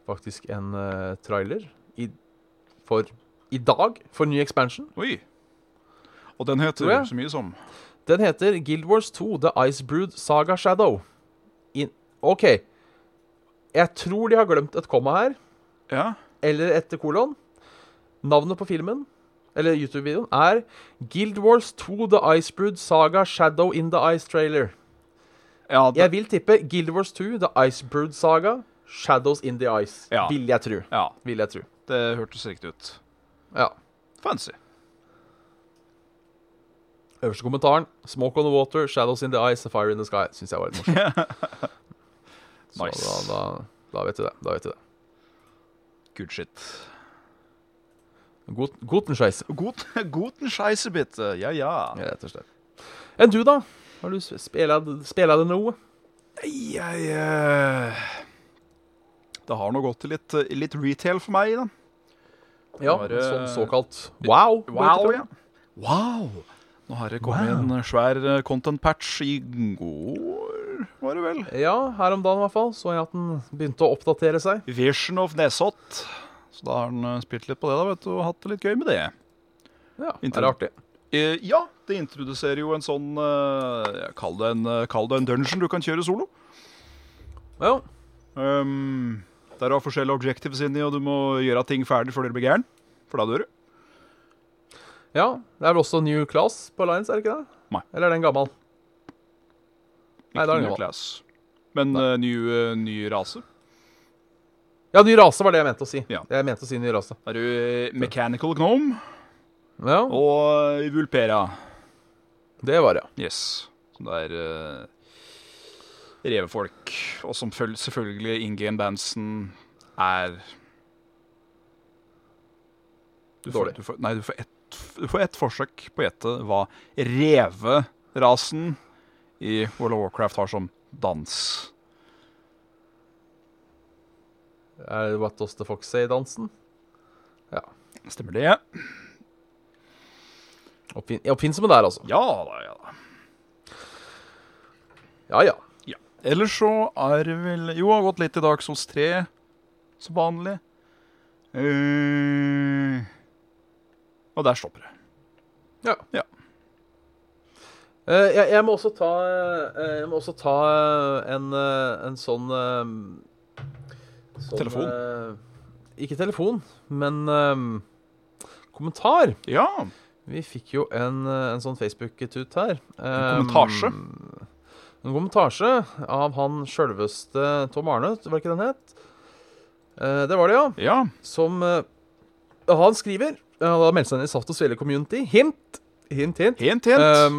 faktisk en eh, trailer i, for i dag for ny expansion. Oi. Og den Tror heter jeg. så mye som Den heter Guild Wars 2 The Icebrewed Saga Shadow. In OK. Jeg tror de har glemt et komma her, Ja. eller etter kolon. Navnet på filmen, eller YouTube-videoen, er Guild Wars 2 The Icebrewed Saga Shadow in the Ice Trailer. Ja, det, Jeg vil tippe Guild Wars 2 The Icebrewed Saga Shadows in the Ice. Ja. Vil jeg tro. ja, Vil jeg tro. det hørtes riktig ut. Ja. Fancy. Øverste kommentaren Smoke on the water, shadows in the ice, a fire in the sky. Syns jeg var litt morsomt. Så Nice. da, da, da vet du det. Da vet du det. Good shit. God, Gotenscheisse. God, guten scheisse, bitte. Ja, ja. Ja, Rett og slett. Enn du, da? Har du spela det noe? Jeg eh, Det har nå gått til litt, eh, litt retail for meg, da. Ja, Bare- sånn såkalt wow. Wow, vet du. ja. Wow. Nå har det kommet en svær eh, content patch i går, var det vel? ja, her om dagen i hvert fall så jeg at den begynte å oppdatere seg. Vision of Nesott. Så da har han eh, spilt litt på det da, vet du, og hatt det litt gøy med det. Ja, er Inntil- det artig? Eh, ja, det introduserer jo en sånn eh, jeg Kall det en, eh, kall det en dungeon du kan kjøre solo. Ja. Um, der du har forskjellige objectives inni, og du må gjøre ting ferdig før du blir gæren. For da dør du. ja. Det er vel også New Class på Alliance, er det ikke det? Nei. Eller er den gammel? Nei, Ikke da er det ny gammel. class. Men eh, ny, eh, ny rase. Ja, ny rase var det jeg mente å si. Ja. Jeg mente å si ny rase. Da er du eh, Mechanical Gnome Ja, og eh, Vulpera. det var det. Yes. Som det er eh, revefolk. Og som føl selvfølgelig in game dansen er du får, Dårlig. du får, Nei, du får, ett, du får ett forsøk på å gjette hva reverasen i World of Warcraft har som dans. Er det What Does The Fox Say-dansen? Ja. Stemmer det? Oppfin oppfinnsomme der, altså. Ja da, ja da. Ja, ja. Ja. Ellers så er det vel Jo, har gått litt i Dark Souls 3, som vanlig. Eh, og der stopper det. Eh, jeg, jeg må også ta, eh, jeg må også ta eh, en, eh, en sånn, eh, sånn Telefon? eh, ikke telefon, men eh, kommentar. Ja. Vi fikk jo en, eh, en sånn Facebook-tut her. En kommentasje? Um, En kommentasje av han sjølveste Tom Arne, var det ikke den het? Eh, Det var det, ja. ja. Som eh, Han skriver eh, Han har meldt seg inn i Saft og Svele Community. Hint, hint, hint. Hent, hent. Um,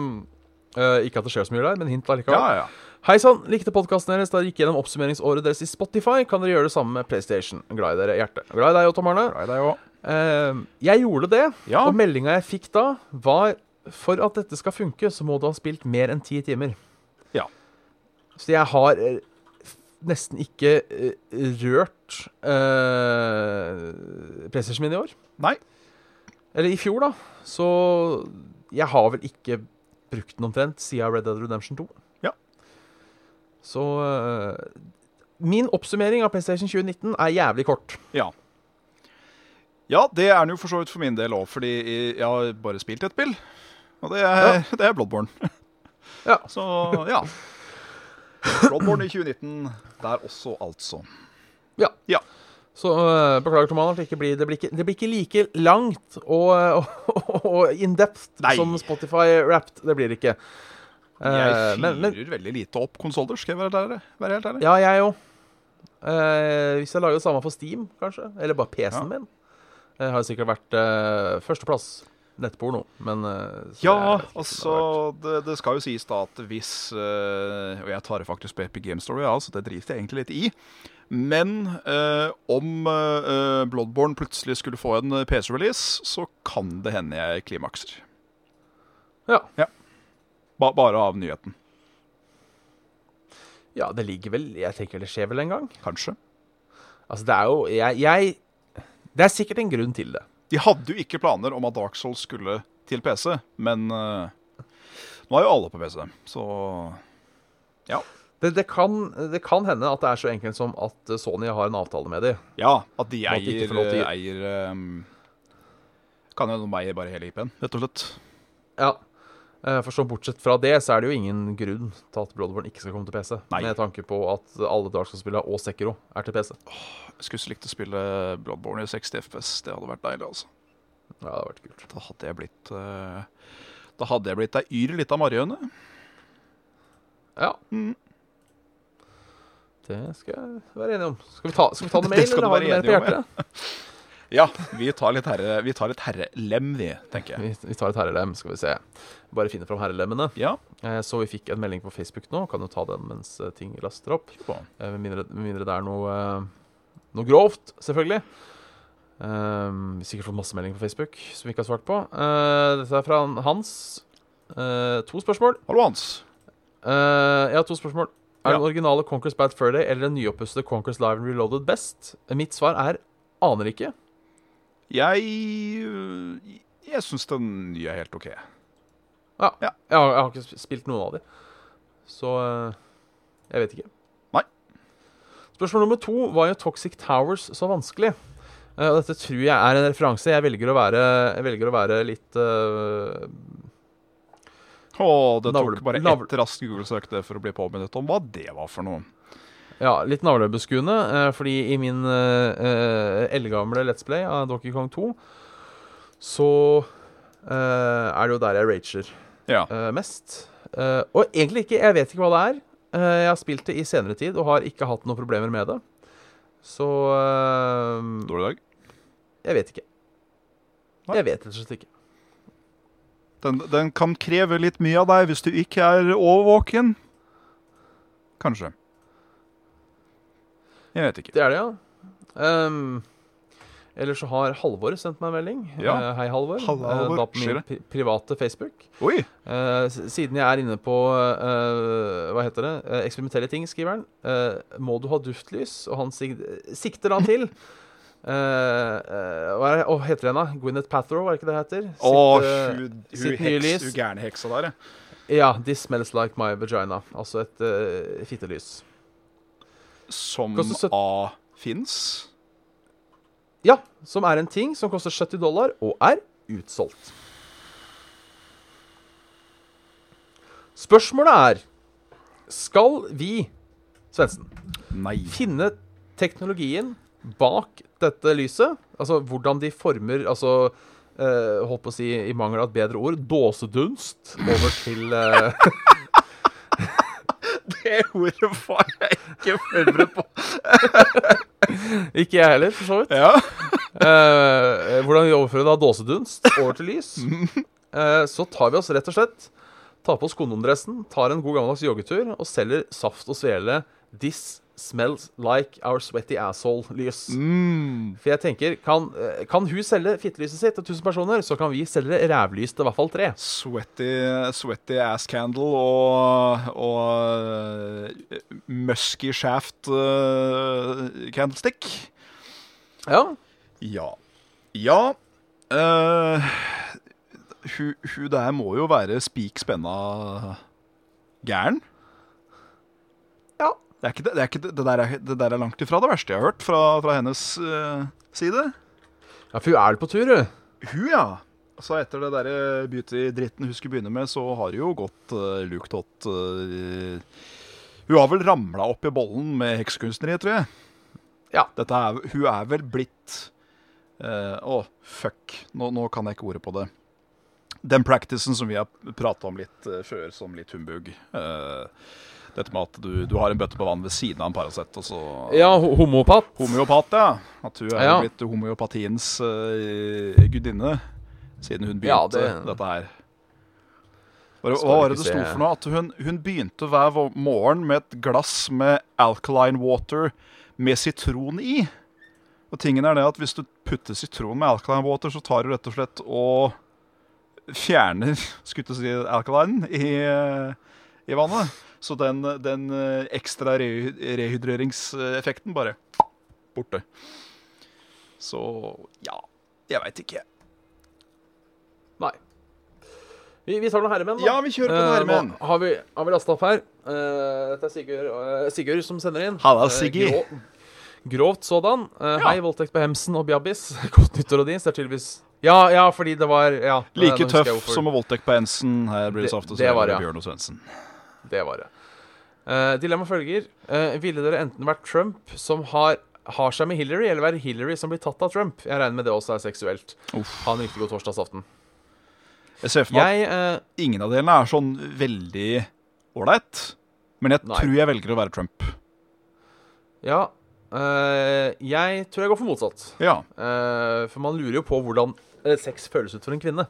eh, ikke at det skjer så mye der, men hint ja, allikevel. ja. Hei sann, likte podkasten deres da dere gikk gjennom oppsummeringsåret deres i Spotify. Kan dere gjøre det samme med PlayStation? Glad i dere, hjerte. Glad i deg òg, Tom Arne. Glad i deg òg. Eh, jeg gjorde det. Ja. Og meldinga jeg fikk da, var for at dette skal funke, så må du ha spilt mer enn ti timer. Ja. Så jeg har eh, f- nesten ikke eh, rørt eh, PlayStation min i år. Nei. Eller i fjor, da. Så jeg har vel ikke brukt den omtrent siden Red Dead Redemption 2. Ja. Så eh, Min oppsummering av PlayStation 2019 er jævlig kort. Ja. Ja, det er den jo for så vidt for min del òg, fordi jeg har bare spilt ett spill. Og det er, Ja. det er Bloodborne. Ja. Så ja. Bloodborne i 2019 der også, altså. Så øh, beklager, Tom Arnold, det, ikke blir- det, blir ikke- det blir ikke like langt og, og, og in-depth Nei. som Spotify Wrapped. Det blir det ikke. Eh, Jeg men, fyrer men, veldig lite opp konsoller, skal jeg være, ærlig- være helt ærlig. ja, jeg òg. hvis jeg lager det samme for Steam, kanskje. Eller bare PC-en Ja. min. Jeg har sikkert vært eh, førsteplass nettporno, men eh, så jeg Ja, vet ikke om det altså har vært- det, det skal jo sies da at hvis eh, Og jeg tar det faktisk på Epic Game Story, ja, så det driter jeg egentlig litt i. Men eh, om eh, Bloodborne plutselig skulle få en PC-release, så kan det hende jeg klimakser. Ja. Ba bare av nyheten, ja, det ligger vel Jeg tenker det skjer vel en gang. kanskje. Altså, det er jo Jeg, jeg Det er sikkert en grunn til det. De hadde jo ikke planer om at Dark Souls skulle til PC, men eh, nå er jo alle på PC, så Det, det, kan, det kan hende at det er så enkelt som at eh, Sony har en avtale med dem. Ja, at de Og at de ikke eier, får lov til å- eier ehm, Kan hende de eier bare hele IP-en, rett og slett. Ja. Eh, For så bortsett fra det, så er det jo ingen grunn til at Bloodborne ikke skal komme til PC. Nei. Med tanke på at alle Dark Souls-spillene og Sekiro er til PC. Jeg skulle så likt å spille Bloodborne i 60 FPS. Det hadde vært deilig, altså. Ja, det hadde vært kult. Da hadde jeg blitt eh, Da hadde jeg blitt ei yr lita marihøne. Ja. Mm. Det skal jeg være enig om. Skal vi ta, skal vi ta det med, Det skal eller du har være du mer enig på om, hjertet? Ja, vi tar litt herre Vi tar litt herrelem, vi, tenker jeg. Vi, vi tar et herrelem, skal vi se. Bare finne fram herrelemmene. Ja. Eh, Så vi fikk en melding på Facebook nå. Kan jo ta den mens eh, ting laster opp. Bra. Eh, Med mindre, med mindre det er noe, eh, noe grovt, selvfølgelig. Ehm, vi har sikkert fått masse melding på Facebook som vi ikke har svart på. Eh, dette er fra han- Hans. Eh, to spørsmål. Hallo, Hans. Eh, jeg har to spørsmål. Er Ja. den originale Conquest Bad Furday eller den nyoppussede Conquest Live and Reloaded best? Eh, Mitt svar er aner ikke. Jeg øh, Jeg syns den nye er helt OK. Jeg har, jeg har ikke sp- spilt noen av de. Så eh, jeg vet ikke. Nei. Spørsmål nummer to var jo Toxic Towers så vanskelig. Eh, og dette tror jeg er en referanse. Jeg velger å være, jeg velger å være litt eh, Å, det tok Navle- bare navle- ett raskt Google-søk det for å bli påminnet om hva det var for noe. Ja, litt navlebeskuende, eh, fordi i min eh, eh, eldgamle Let's Play av Donkey Kong 2, så eh, er det jo der jeg rager Ja. eh, mest. Eh, og egentlig ikke. Jeg vet ikke hva det er. Eh, jeg har spilt det i senere tid og har ikke hatt noen problemer med det. Så eh, Dårlig dag. jeg vet ikke. Nei. Jeg vet rett og slett ikke. Den, den kan kreve litt mye av deg hvis du ikke er årvåken. Kanskje. Jeg vet ikke. Det er det, ja. Um, Eller så har Halvor sendt meg en melding. Ja. Eh, hei, Halvor. Halla, Eh, Halvor. Da på Skjer min det? pri private Facebook. Oi! Eh, s- siden jeg er inne på eh, Hva heter det? Eh, eksperimentelle ting, skriver han. eh, må du ha duftlys? Og han sig sikter da til eh, hva er det? Å, heter den da? Gwyneth Pathrow, er det ikke det heter? Sitt, Å, eh, hun, hun, sitt nye heks, lys. hun gærne heksa der, ja. ja, This Smells Like My Vagina. Altså et eh, fittelys. Som Koster sytt- A fins. Ja, som er en ting som koster 70 dollar og er utsolgt. Spørsmålet er Skal vi, Svendsen, Nei. finne teknologien bak dette lyset? Altså hvordan de former Altså eh, holdt på å si, i mangel av et bedre ord, dåsedunst over til eh, Det ordet var jeg ikke forberedt på. Ikke jeg heller, for så vidt. Ja. Eh, hvordan vi overfører da dåsedunst over til lys. Eh, så tar vi oss rett og slett Tar på oss kondomdressen, tar en god gammeldags joggetur og selger saft og svele This smells like our sweaty asshole-lys. Mm. For jeg tenker, kan, eh, kan hun selge fittelyset sitt til 1000 personer, så kan vi selge rævlys til i hvert fall tre. Sweaty, sweaty ass candle og, og eh, musky shaft eh, candlestick. Ja, Ja. Ja. eh, hun, hun der må jo være spik spenna gæren. ja. Det, er ikke det, det, er ikke det, det, der er, det der er langt ifra det verste jeg har hørt fra, fra hennes eh, side. ja for hun er vel på tur, hun. Hun, ja. Så etter det derre beauty-dritten hun skulle begynne med, så har hun jo gått uh, lukt hot eh, Hun har vel ramla opp i bollen med heksekunstneriet, tror jeg. Ja. Dette er, hun er vel blitt eh, Å, fuck. Nå, nå kan jeg ikke ordet på det. Den practicen som vi har prata om litt eh, før, som litt humbug. eh, dette med at du, du har en bøtte på vann ved siden av en Paracet, og så Ja, ho- homopat. Homeopat, ja. At hun er Ja. blitt homeopatiens eh, gudinne siden hun begynte Ja, det- dette her. Hva, Skal hva var ikke det det sto se- for noe? At hun, hun begynte hver vo- morgen med et glass med alkaline water med sitron i. Og tingen er det at hvis du putter sitron med alkaline water, så tar du rett og slett og fjerner skulle jeg til å si, alkalinen i, eh, i vannet. Så den, den eh, ekstra rehy- rehydreringseffekten bare borte. Så ja, jeg veit ikke. Nei. Vi, vi tar noen herremenn, da. Ja, vi kjører på den Eh, her, men. nå Har vi, har vi lasta opp her? Eh, dette er Sigurd, eh, Sigurd som sender inn. Halla, Eh, Siggy. grå- grovt sådan. Eh, Ja. Hei, voldtekt på hemsen og bjabbis. Godt nyttår og din. Så det er tydeligvis Ja, ja, fordi det var ja, det- nå Like husker jeg tøff hvorfor. som å voldtekt på Ensen. Her blir Det- det saft og det var svele det, ja. Bjørn og Svendsen. Det var det. Eh, dilemma følger. Eh, ville dere enten vært Trump, som har, har seg med Hillary, eller være Hillary som blir tatt av Trump? Jeg regner med det også er seksuelt. Uff. Ha en riktig god torsdagsaften. Jeg ser for meg Jeg eh, at ingen av delene er sånn veldig ålreit, men jeg Nei. tror jeg velger å være Trump. Ja. eh, jeg tror jeg går for motsatt. Ja. Eh, for man lurer jo på hvordan eh, sex føles ut for en kvinne.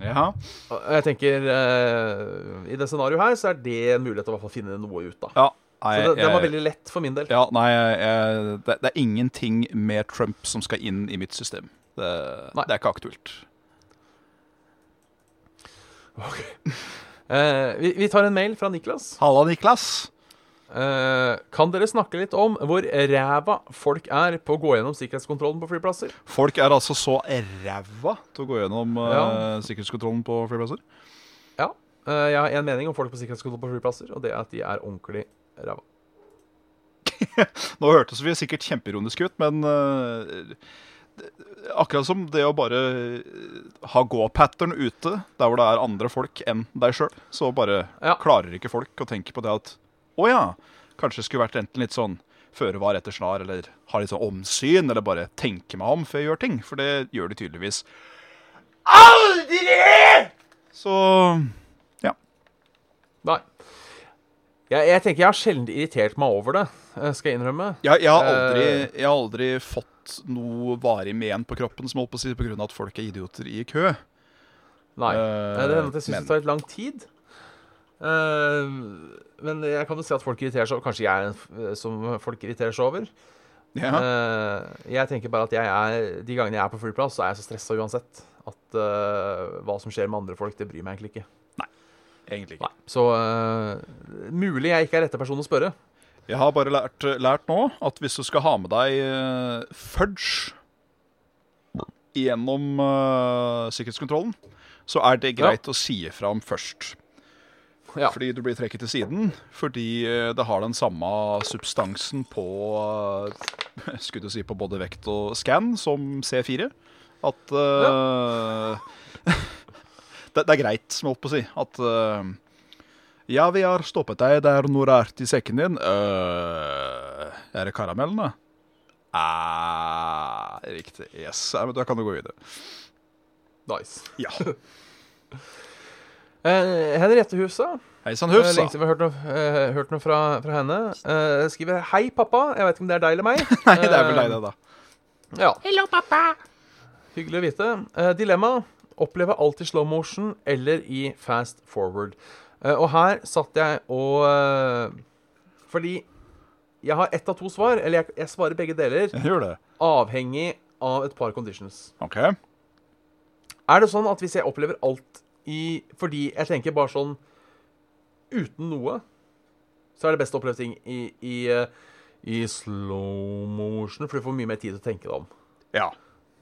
ja. Og jeg tenker eh, I det scenarioet her så er det en mulighet til å i hvert fall finne noe ut av. ja. Nei, Så det, det var jeg- veldig lett for min del. Ja, nei, jeg, jeg, det, det er ingenting med Trump som skal inn i mitt system. Det, Nei. det er ikke aktuelt. Eh, vi, vi tar en mail fra Niklas. Halla, Niklas. Eh, kan dere snakke litt om hvor ræva folk er på å gå gjennom sikkerhetskontrollen på flyplasser? Folk er altså så ræva til å gå gjennom Ja. eh, sikkerhetskontrollen på flyplasser. Ja. eh, jeg har én mening om folk på sikkerhetskontroll på flyplasser, og det er at de er ordentlig ræva. Nå hørtes vi sikkert kjempeironisk ut, men eh, det- akkurat som det å bare eh, ha gå-pattern ute, der hvor det er andre folk enn deg sjøl, så bare Ja. klarer ikke folk å tenke på det at å ja, kanskje det skulle vært enten litt sånn føre var etter snar, eller ha litt sånn omsyn, eller bare tenke meg om før jeg gjør ting, for det gjør de tydeligvis aldri! Så ja. Nei. Jeg, jeg tenker jeg har sjelden irritert meg over det, eh, skal jeg innrømme. Jeg, jeg, har aldri, Eh. jeg har aldri fått noe varig men på kroppen, som holdt på å si, på grunn av at folk er idioter i kø. Nei. Eh, Eh, Det hender at jeg syns men- det tar litt lang tid. Eh, men jeg kan jo se at folk irriterer seg over Kanskje jeg er en f- eh, som folk irriterer seg over. Ja. Eh, jeg tenker bare at jeg er, de gangene jeg er på flyplass, så er jeg så stressa uansett at eh, hva som skjer med andre folk, det bryr meg egentlig ikke. Egentlig Så eh, mulig jeg ikke er rette person å spørre. Jeg har bare lært, lært nå at hvis du skal ha med deg eh, fudge gjennom eh, sikkerhetskontrollen, så er det Ja. greit å si ifra om først. Ja. Fordi du blir trekket til siden fordi eh, det har den samme substansen på eh, Skulle du si på både vekt og scan som C4. At eh, det, det er greit, som jeg holdt på å si. At eh, ja, vi har stoppet deg. Det er noe rart i sekken din. Øh, er det karamellen, da? Ah, riktig. Yes. Ja, men da kan du gå videre. Nice. Ja. Eh, Henriette Husa, Hei sann, eh, Hufsa. lenge siden vi har hørt noe, eh, hørt noe fra, fra henne, eh, skriver 'Hei, pappa'. Jeg vet ikke om det er deg eller meg. Nei, det er vel deg, det, da. Ja, Hello, pappa. Hyggelig å vite. Eh, dilemma oppleve alt i slow motion eller i fast forward. Eh, og her satt jeg og eh, Fordi jeg har ett av to svar, eller jeg, jeg svarer begge deler, Jeg gjør det. avhengig av et par conditions. OK. Er det sånn at hvis jeg opplever alt i Fordi jeg tenker bare sånn Uten noe Så er det best å oppleve ting i, i, eh, i slow motion, for du får mye mer tid til å tenke deg om. Ja.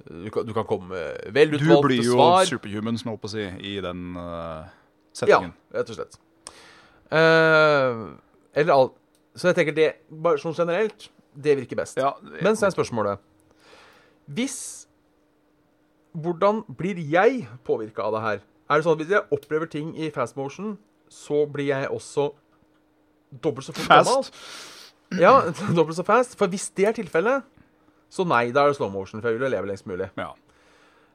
Du kan, du kan komme med vel Du utvalgte blir jo svar. superhuman, som jeg holdt på å si, i den øh, Ja, settingen. rett og slett. Eh, eller alt Så jeg tenker det bare sånn generelt, det virker best. Ja. Men så er spørsmålet Hvis Hvordan blir jeg påvirka av det her? Er det sånn at hvis jeg opplever ting i fast motion, så blir jeg også dobbelt så fort gammel? Fast. Ja, dobbelt så fast. For hvis det er tilfellet, så nei, da er det slow motion, for jeg vil jo leve lengst mulig. Ja.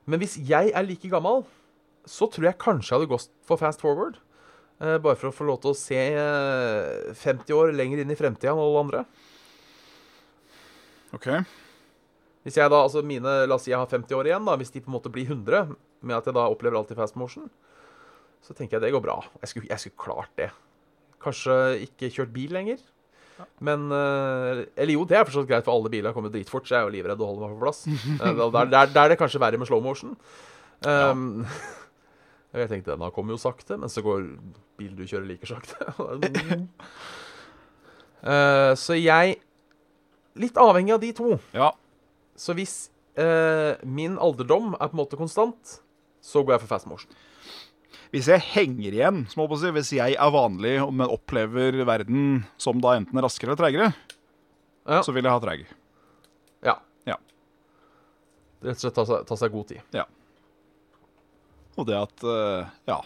Men hvis jeg er like gammel, så tror jeg kanskje jeg hadde gått for fast forward. eh, bare for å få lov til å se eh, 50 år lenger inn i fremtida enn alle andre. OK. Hvis jeg da, altså mine, La oss si jeg har 50 år igjen, da, hvis de på en måte blir 100, med at jeg da opplever alt i fast motion, så tenker jeg det går bra. Jeg skulle, jeg skulle klart det. Kanskje ikke kjørt bil lenger. Men eh, Eller jo, det er forstått greit, for alle biler kommer dritfort, så jeg er jo livredd og holder meg på plass. Eh, da- Der, der, der er det kanskje verre med slow motion. Um, Jeg tenkte denne kommer jo sakte, men så går bilen du kjører, like sakte. Eh, så jeg Litt avhengig av de to. Ja. Så hvis eh, min alderdom er på en måte konstant, så går jeg for fast motion. Hvis jeg henger igjen, som jeg holdt på å si, hvis jeg er vanlig, men opplever verden som da enten raskere eller treigere, Ja. så vil jeg ha treig. Ja. Ja. Rett og slett ta, seg- ta seg god tid. Og det at eh, Ja.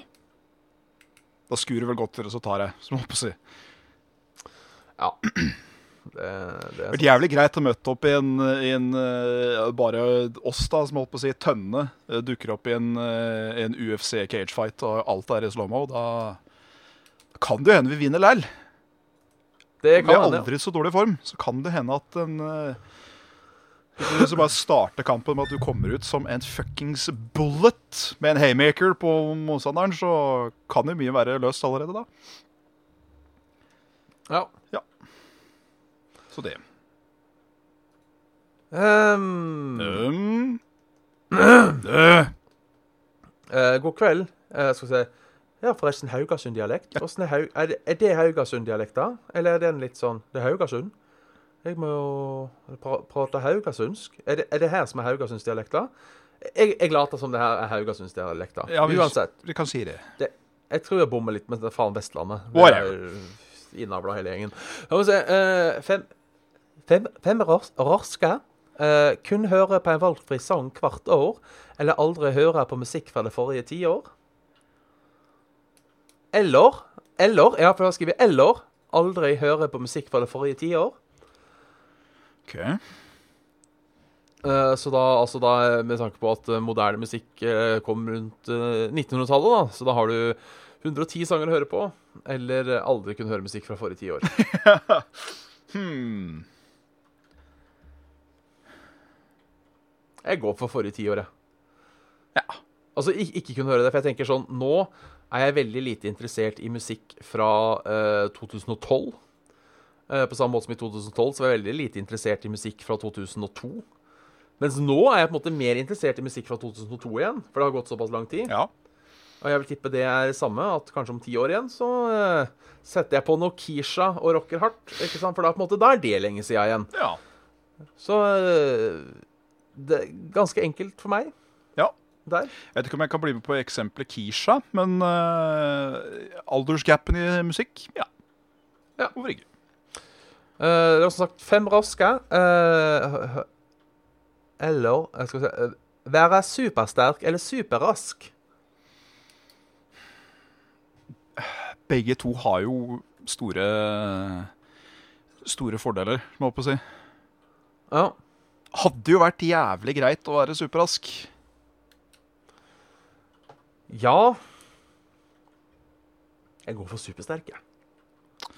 Da skurer vel godt, eller så tar jeg, som jeg holdt på å si. Ja. Det, det Det er hadde vært jævlig greit å møte opp i en, i en eh, Bare oss, da, som jeg holdt på å si, tønne, eh, dukker opp i en, eh, en UFC cagefight, og alt er i slow-mo. Da kan det jo hende vi vinner læll. det Vi er kan hende. aldri så dårlig form, så kan det hende at en eh, hvis du bare starter kampen med at du kommer ut som en fuckings bullet med en haymaker på motstanderen, så kan jo mye være løst allerede da. Ja. Så det. Ehm, Um, eh, god kveld. Eh, skal vi se Ja, forresten, Haugasund-dialekt. Hvordan Er, Haug er, det- er det Haugasund-dialekt, da? Eller er den litt sånn Det er Haugasund. Jeg må jo pra prate haugasundsk. Er det, er det her som er Haugasundsdialekt, da? Jeg, jeg later som det her er Haugasundsdialekt, da. Ja, vi- Uansett. vi kan si det. Jeg tror jeg bommer litt, men det er faen Vestlandet. Vi er Whatever. Innavla hele gjengen. La meg se. eh, fem fem, fem rors, rorske. Eh, kun høre på en valgfri sang hvert år, eller aldri høre på musikk fra det forrige tiår. Eller Eller, ja, for jeg har skrevet 'eller'. Aldri høre på musikk fra det forrige tiår. Ok. Eh, Så da, altså da, med tanke på at eh, moderne musikk eh, kom rundt eh, 1900-tallet, da, så da har du 110 sanger å høre på, eller eh, aldri kunne høre musikk fra forrige tiår. Hmm. Jeg går for forrige tiår, jeg. Ja. Altså ik ikke kunne høre det, for jeg tenker sånn Nå er jeg veldig lite interessert i musikk fra eh, 2012. Eh, på samme måte som i 2012 så var jeg veldig lite interessert i musikk fra 2002. Mens nå er jeg på en måte mer interessert i musikk fra 2002 igjen, for det har gått såpass lang tid. Ja. Og jeg vil tippe det er samme, at kanskje om ti år igjen så eh, setter jeg på noe Keisha og rocker hardt. ikke sant? For da, på en måte, da er det lenge siden igjen. Ja. Så eh, det er ganske enkelt for meg ja. der. Jeg vet ikke om jeg kan bli med på eksempelet Keisha, men eh, aldersgapen i musikk, ja. Ja. Hvorfor ikke? Eh, det var som sagt fem raske. eh, hø- hø- eller jeg skal vi se eh, Være supersterk eller superrask. Begge to har jo store Store fordeler, må jeg håpe å si. Ja. Hadde jo vært jævlig greit å være superrask. Ja Jeg går for supersterk, jeg.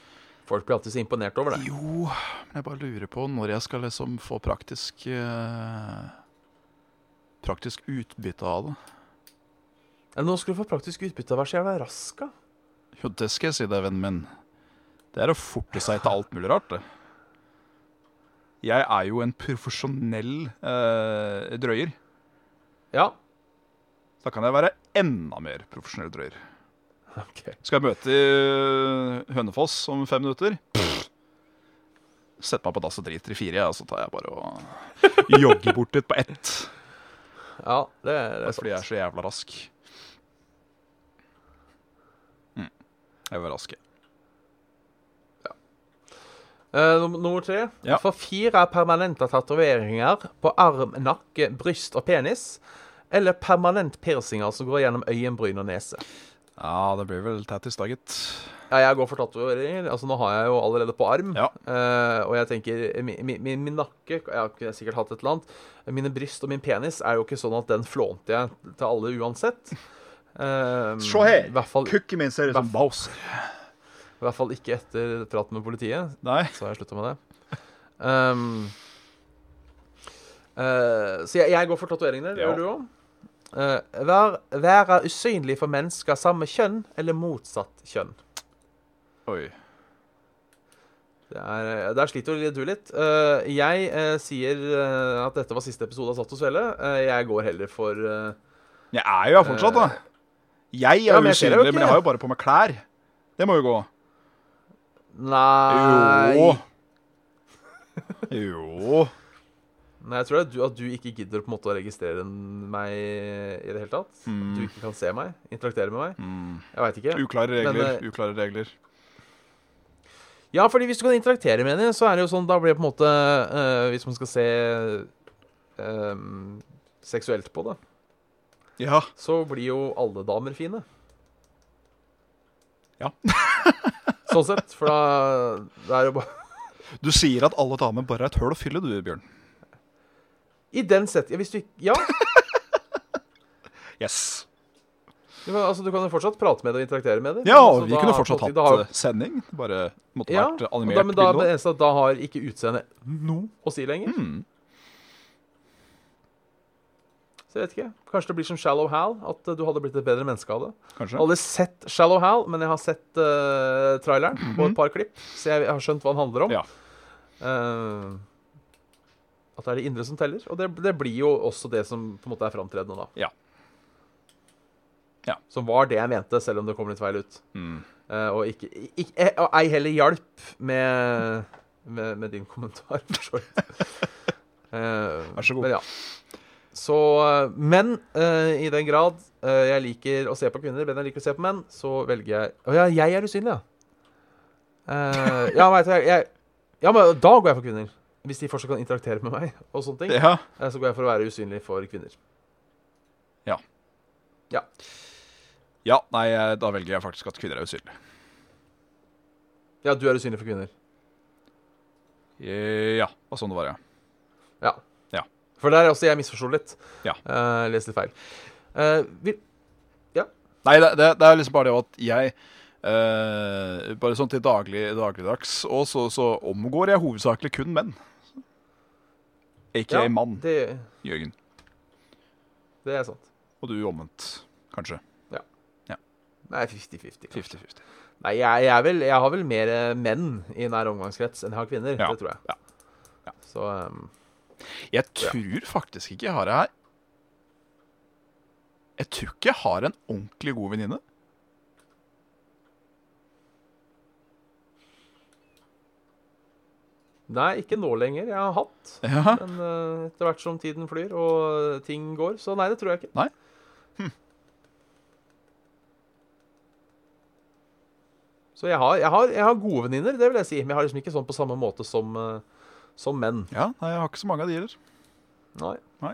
Folk blir alltid så imponert over det. Jo, men jeg bare lurer på når jeg skal liksom få praktisk eh, Praktisk utbytte av det. Men nå skal du få praktisk utbytte av å være så jævla rask, da. Jo, det skal jeg si deg, vennen min. Det er å forte seg til alt mulig rart, det. Jeg er jo en profesjonell eh, drøyer. Ja. Da kan jeg være enda mer profesjonell drøyer. Ok. Skal jeg møte i Hønefoss om fem minutter? Sett meg på dass og driter i fire, jeg, og så tar jeg bare og jogger bort dit på ett. Ja, det, det Bare er fordi jeg er sant. så jævla rask. Mm. Jeg vil være rask, jeg. Eh, num- nummer tre. Ja. For fire permanente tatoveringer på arm, nakke, bryst og penis. Eller permanent piercinger som går gjennom øyenbryn og nese. Ja, det blir vel tattis, da, gitt. Ja, jeg går for tatoveringer. Altså, nå har jeg jo allerede på arm. Ja. Eh, og jeg tenker mi- mi- mi- Min nakke Jeg har kunne sikkert hatt et eller annet. eh, Mine bryst og min penis er jo ikke sånn at den flånte jeg til alle uansett. Eh, Se her. I hvert fall, i Kukken min ser ut som Bowser. hvert fall ikke etter prat med politiet. Nei. Så har jeg slutta med det. Ehm, eh, så jeg, jeg går for tatoveringene. Det gjør Ja. du òg. Uh, vær, være usynlig for mennesker av samme kjønn eller motsatt kjønn. Oi. Det er, der sliter jo du litt. Eh, jeg eh, sier eh, at dette var siste episode av Satt hos Velle. Eh, jeg går heller for eh, Jeg er jo her fortsatt, da. Jeg er ja, jo men jeg ser det jo usynlig, ikke. men jeg har jo bare på meg klær. Det må jo gå. Nei Jo. Jo. Nei, Jeg tror det er du, at du ikke gidder på en måte å registrere en- meg i det hele tatt. At Mm. Du ikke kan se meg, interaktere med meg. Jeg veit ikke. Uklare regler. eh, Uklare regler. Ja, fordi hvis du kan interaktere med henne, så er det jo sånn Da blir det på en måte eh, Hvis man skal se eh, seksuelt på det, Ja. så blir jo alle damer fine. Ja. sånn sett. For da det er jo bare Du sier at alle damer bare er et høl å fylle, du, Bjørn. I den setting Hvis du ikke Ja. Yes. Du kan, altså, du kan jo fortsatt prate med det og interaktere med det. Ja, Men altså, vi da- kunne fortsatt på en måte, hatt da har- eh, sending. Det Bare måtte ja, vært eh, og animert. da, men da, bilde men også. det eneste er at da har ikke utseendet noe å si lenger. Mm. Så jeg vet ikke. Kanskje det blir som Shallow Hal, at eh, du hadde blitt et bedre menneske av det. Jeg har Kanskje. aldri sett Shallow Hal, men jeg har sett eh, traileren og et par klipp, så jeg har skjønt hva den handler om. Mhm. Ja. Eh, at det er det indre som teller. Og det, det blir jo også det som på en måte er framtredende, da. Ja. Ja. Som var det jeg mente, selv om det kom litt feil ut. Mm. Eh, og, ikke, ikke, eh, og ei heller hjalp med, med, med din kommentar, for så vidt. Eh, Vær så god. Men, ja. så, eh, men eh, i den grad eh, jeg liker å se på kvinner bedre enn jeg liker å se på menn, så velger jeg Å ja, jeg er usynlig, ja. Eh, ja, veit du, jeg, jeg Ja, men da går jeg for kvinner. Hvis de fortsatt kan interaktere med meg, og sånne ting, ja. eh, så går jeg for å være usynlig for kvinner. Ja, nei, jeg- da velger jeg faktisk at kvinner er usynlige. Ja, du er usynlig for kvinner. Ja, det var sånn det var, ja. Ja. Ja. For der er også jeg misforsto litt. Ja. Eh, leste litt feil. Eh, vil, Nei, det, det, det er liksom bare det at jeg eh, Bare sånn til daglig, dagligdags Og så, så omgår jeg hovedsakelig kun menn. Ikke ja, mann, Det, Jørgen. det er sant. Og du omvendt, kanskje. Nei, 50-50. kanskje. 50-50. Nei, jeg, jeg, er vel, jeg har vel mer eh, menn i nær omgangskrets enn jeg har kvinner. Ja, Det tror jeg. ja, ja. Så ehm, Jeg tror faktisk ikke jeg har det her. Jeg tror ikke jeg har en ordentlig god venninne. Nei, ikke nå lenger. Jeg har hatt. Ja. Men eh, etter hvert som tiden flyr og ting går, så nei, det tror jeg ikke. Hm. Nei? Så jeg har, jeg har, jeg har gode venninner, det vil jeg si. Men jeg har liksom ikke sånn på samme måte som, eh, som menn. ja, nei, Jeg har ikke så mange av de heller. Nei. Nei.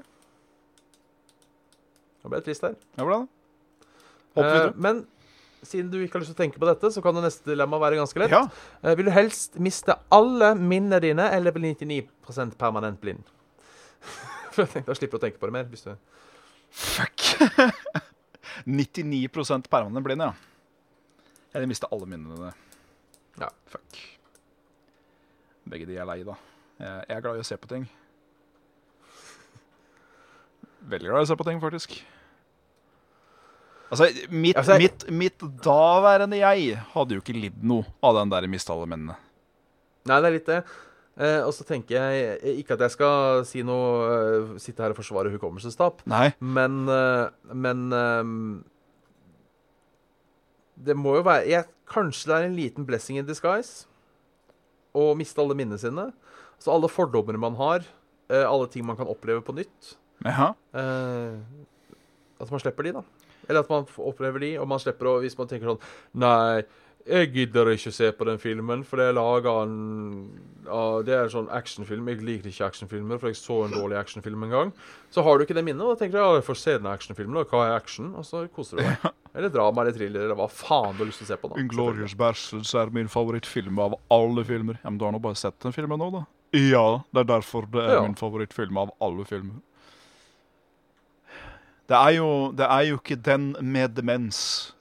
Jeg ble trist her. Ja, bra da. Hopp Eh, videre. men siden du ikke har lyst til å tenke på dette, så kan det neste dilemma være ganske lett. ja. Eh, vil du helst miste alle minnene dine, eller bli 99 permanent blind? For jeg tenkte, Da slipper du å tenke på det mer. Hvis du... Fuck. 99 permanent blind, ja. Eller mista alle minnene. Ja. Fuck. Begge de er lei, da. Jeg jeg er glad i å se på ting. Veldig glad i å se på ting, faktisk. Altså, mitt, Altså, jeg- mitt, mitt daværende jeg hadde jo ikke lidd noe av den der mista alle minnene. Nei, det er litt det. Eh, og så tenker jeg eh, ikke at jeg skal si noe eh, Sitte her og forsvare hukommelsestap, Nei. men eh, Men eh, Det må jo være jeg, Kanskje det er en liten blessing in disguise å miste alle minnene sine. Så alle fordommer man har, eh, alle ting man kan oppleve på nytt Ja. eh, At man slipper de, da. Eller at man f- opplever de, og man slipper å Hvis man tenker sånn Nei, jeg gidder ikke se på den filmen, for det er laga en av- Det er en sånn actionfilm. Jeg liker ikke actionfilmer, for jeg så en dårlig actionfilm en gang. Så har du ikke det minnet, og da tenker du ja, jeg får se den actionfilmen, og hva er action? Og så koser du deg. Eller drama eller thriller eller hva faen du har lyst til å se på. da. Inglorious Bastards er min favorittfilm av alle filmer. Ja, men du har nå bare sett den filmen nå, da? Ja, det er derfor det er Ja. min favorittfilm av alle filmer. Det er, jo, det er jo ikke den med demens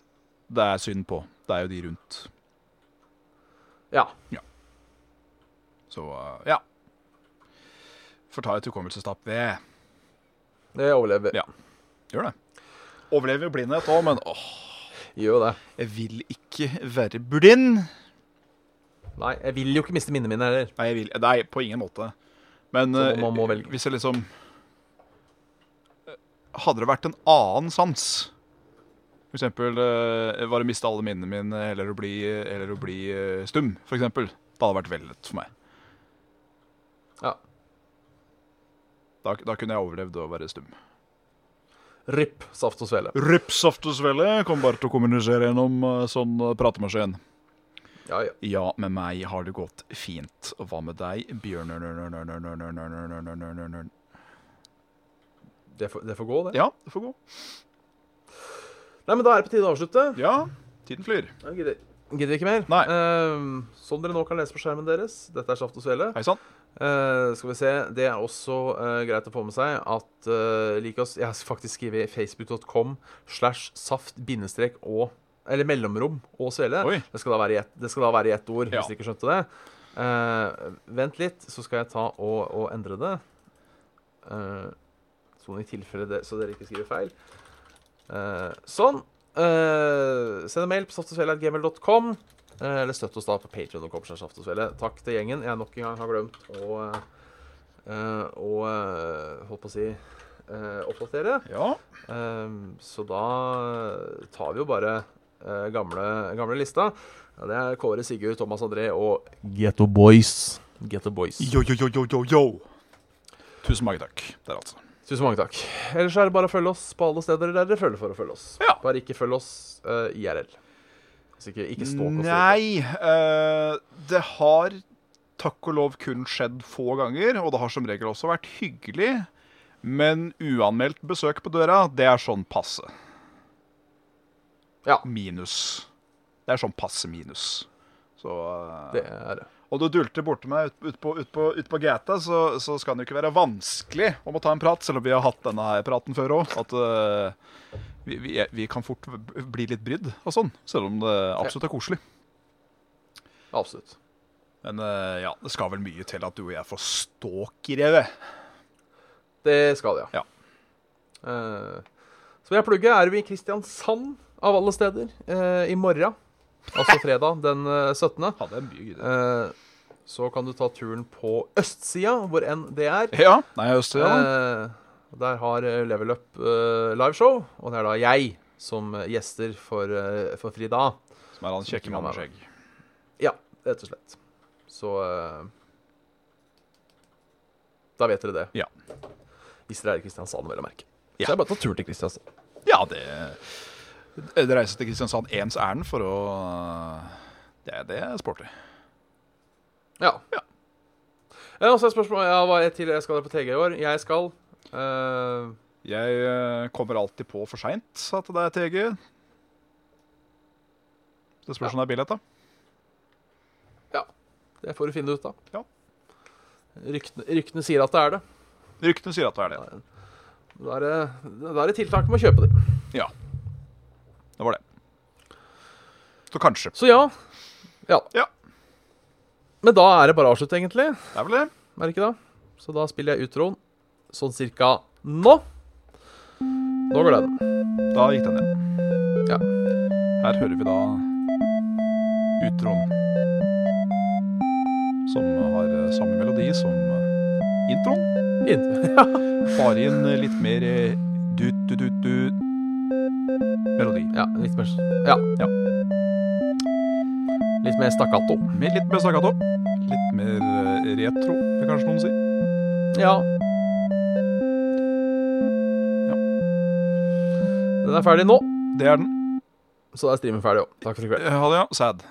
det er synd på. Det er jo de rundt. Ja. Så eh, ja. Får ta et hukommelsestap ved. Det overlever. Ja. Gjør det. Overlever jo blindhet òg, men åh, Gjør jo det. jeg vil ikke være blind. Nei, jeg vil jo ikke miste minnene mine heller. Nei, jeg vil, nei, på ingen måte. Men Så man eh, må velge. hvis jeg liksom eh, Hadde det vært en annen sans For eksempel eh, var det miste alle minnene mine, eller å bli, eller å bli eh, stum, for eksempel. Det hadde vært veldig lett for meg. Ja. Da, da kunne jeg overlevd å være stum. Rypp, saft og svele. Rypsaftesvelle kommer bare til å kommunisere gjennom eh, sånn eh, pratemaskin. Ja, ja. Ja, med meg har det gått fint. Og hva med deg, Bjørn? Det får, det får gå, det. Ja, det får gå. Nei, men da er det på tide å avslutte. Ja, tiden flyr. Jeg gidder, gidder ikke mer. Nei. Ehm, som dere nå kan lese på skjermen deres, dette er Saft og Svele. Hei sann. Eh, skal vi se, Det er også eh, greit å få med seg at eh, lik oss Jeg har faktisk skrevet facebook.com slash saft bindestrek og Eller mellomrom og svele. Oi. Det skal da være i ett, det skal da være i ett ord, Ja. hvis dere ikke skjønte det. Eh, vent litt, så skal jeg ta og, og endre det. Eh, sånn i tilfelle det, så dere ikke skriver feil. Eh, sånn. Eh, send en mail på saftogsvele.gmail.com. Eh, eller støtt oss da på patreon.com. Takk til gjengen. Jeg nok en gang har glemt å eh, å, eh, holdt på å si eh, oppdatere. Ja. Ehm, så da tar vi jo bare eh, gamle, gamle lista. Ja, det er Kåre, Sigurd, Thomas André og Getto Boys. Getto Boys. Yo, yo, yo, yo, yo, yo. Tusen mange takk. Der, altså. Tusen mange takk. Ellers er det bare å følge oss på alle steder der dere føler for å følge oss. Ja. Bare ikke følg oss eh, IRL. Altså ikke, ikke stalk oss. Nei, eh, det har takk og lov kun skjedd få ganger, og det har som regel også vært hyggelig. Men uanmeldt besøk på døra, det er sånn passe. Ja. Minus. Det er sånn passe minus. Så eh, Det er det. Og du dulter borti meg ute ut på, ut på, ut på gata, så, så skal det jo ikke være vanskelig om å ta en prat, selv om vi har hatt denne her praten før òg. At eh, vi, vi, er- vi kan fort bli litt brydd og sånn, selv om det absolutt er koselig. Absolutt. Men eh, ja, det skal vel mye til at du og jeg får stalkere. Det skal det, Ja. Eh, så vil jeg plugge, er vi i Kristiansand, av alle steder, eh, i morgen. Altså fredag den eh, 17. Ja, det er mye gøy. Eh, så kan du ta turen på østsida, hvor enn det er. Ja, nei, Østia. da. Eh, Der har eh, Level Up eh, liveshow, og det er da jeg som eh, gjester for, eh, for Frida, Som er Som han ikke kjekke mannen kan være med skjegg. rett og slett. Så eh, Da vet dere det. Ja. Hvis dere er i Kristiansand, vel å merke. Ja. Så jeg bare tar turen til Kristiansand. Ja, det Det reiser til Kristiansand ens ærend for å Det, er- det er sporty. Ja. Ja. Eh, og så er spørsmålet ja, hva er jeg til jeg skal dere på TG i år. Jeg skal eh, Jeg eh, kommer alltid på for seint at det er TG. Det spørs om det er billett, da. Det får du finne ut, da. Ja. Ryktene, ryktene sier at det er det. Ryktene sier at det er det. Da er det, da er det tiltak med å kjøpe det. Det var det. Så kanskje. Så ja. ja. Ja. Men da er det bare å avslutte, egentlig. Det er vel det. Er det ikke det? Så da spiller jeg utroen sånn cirka nå. Nå går den. Da gikk den ned. Ja. Her hører vi da utroen. Som har eh, samme melodi som eh, introen. Inn. Bare inn eh, litt mer eh, du-du-du-du-melodi. Ja, litt mer Ja. Ja. Litt mer stakkato. Med litt mer staccato. Litt mer eh, retro, vil kanskje noen si. Ja. Den er ferdig nå, Det er den. så da er streamen ferdig òg. Takk for i kveld. Eh, Ha det, ja. Sad.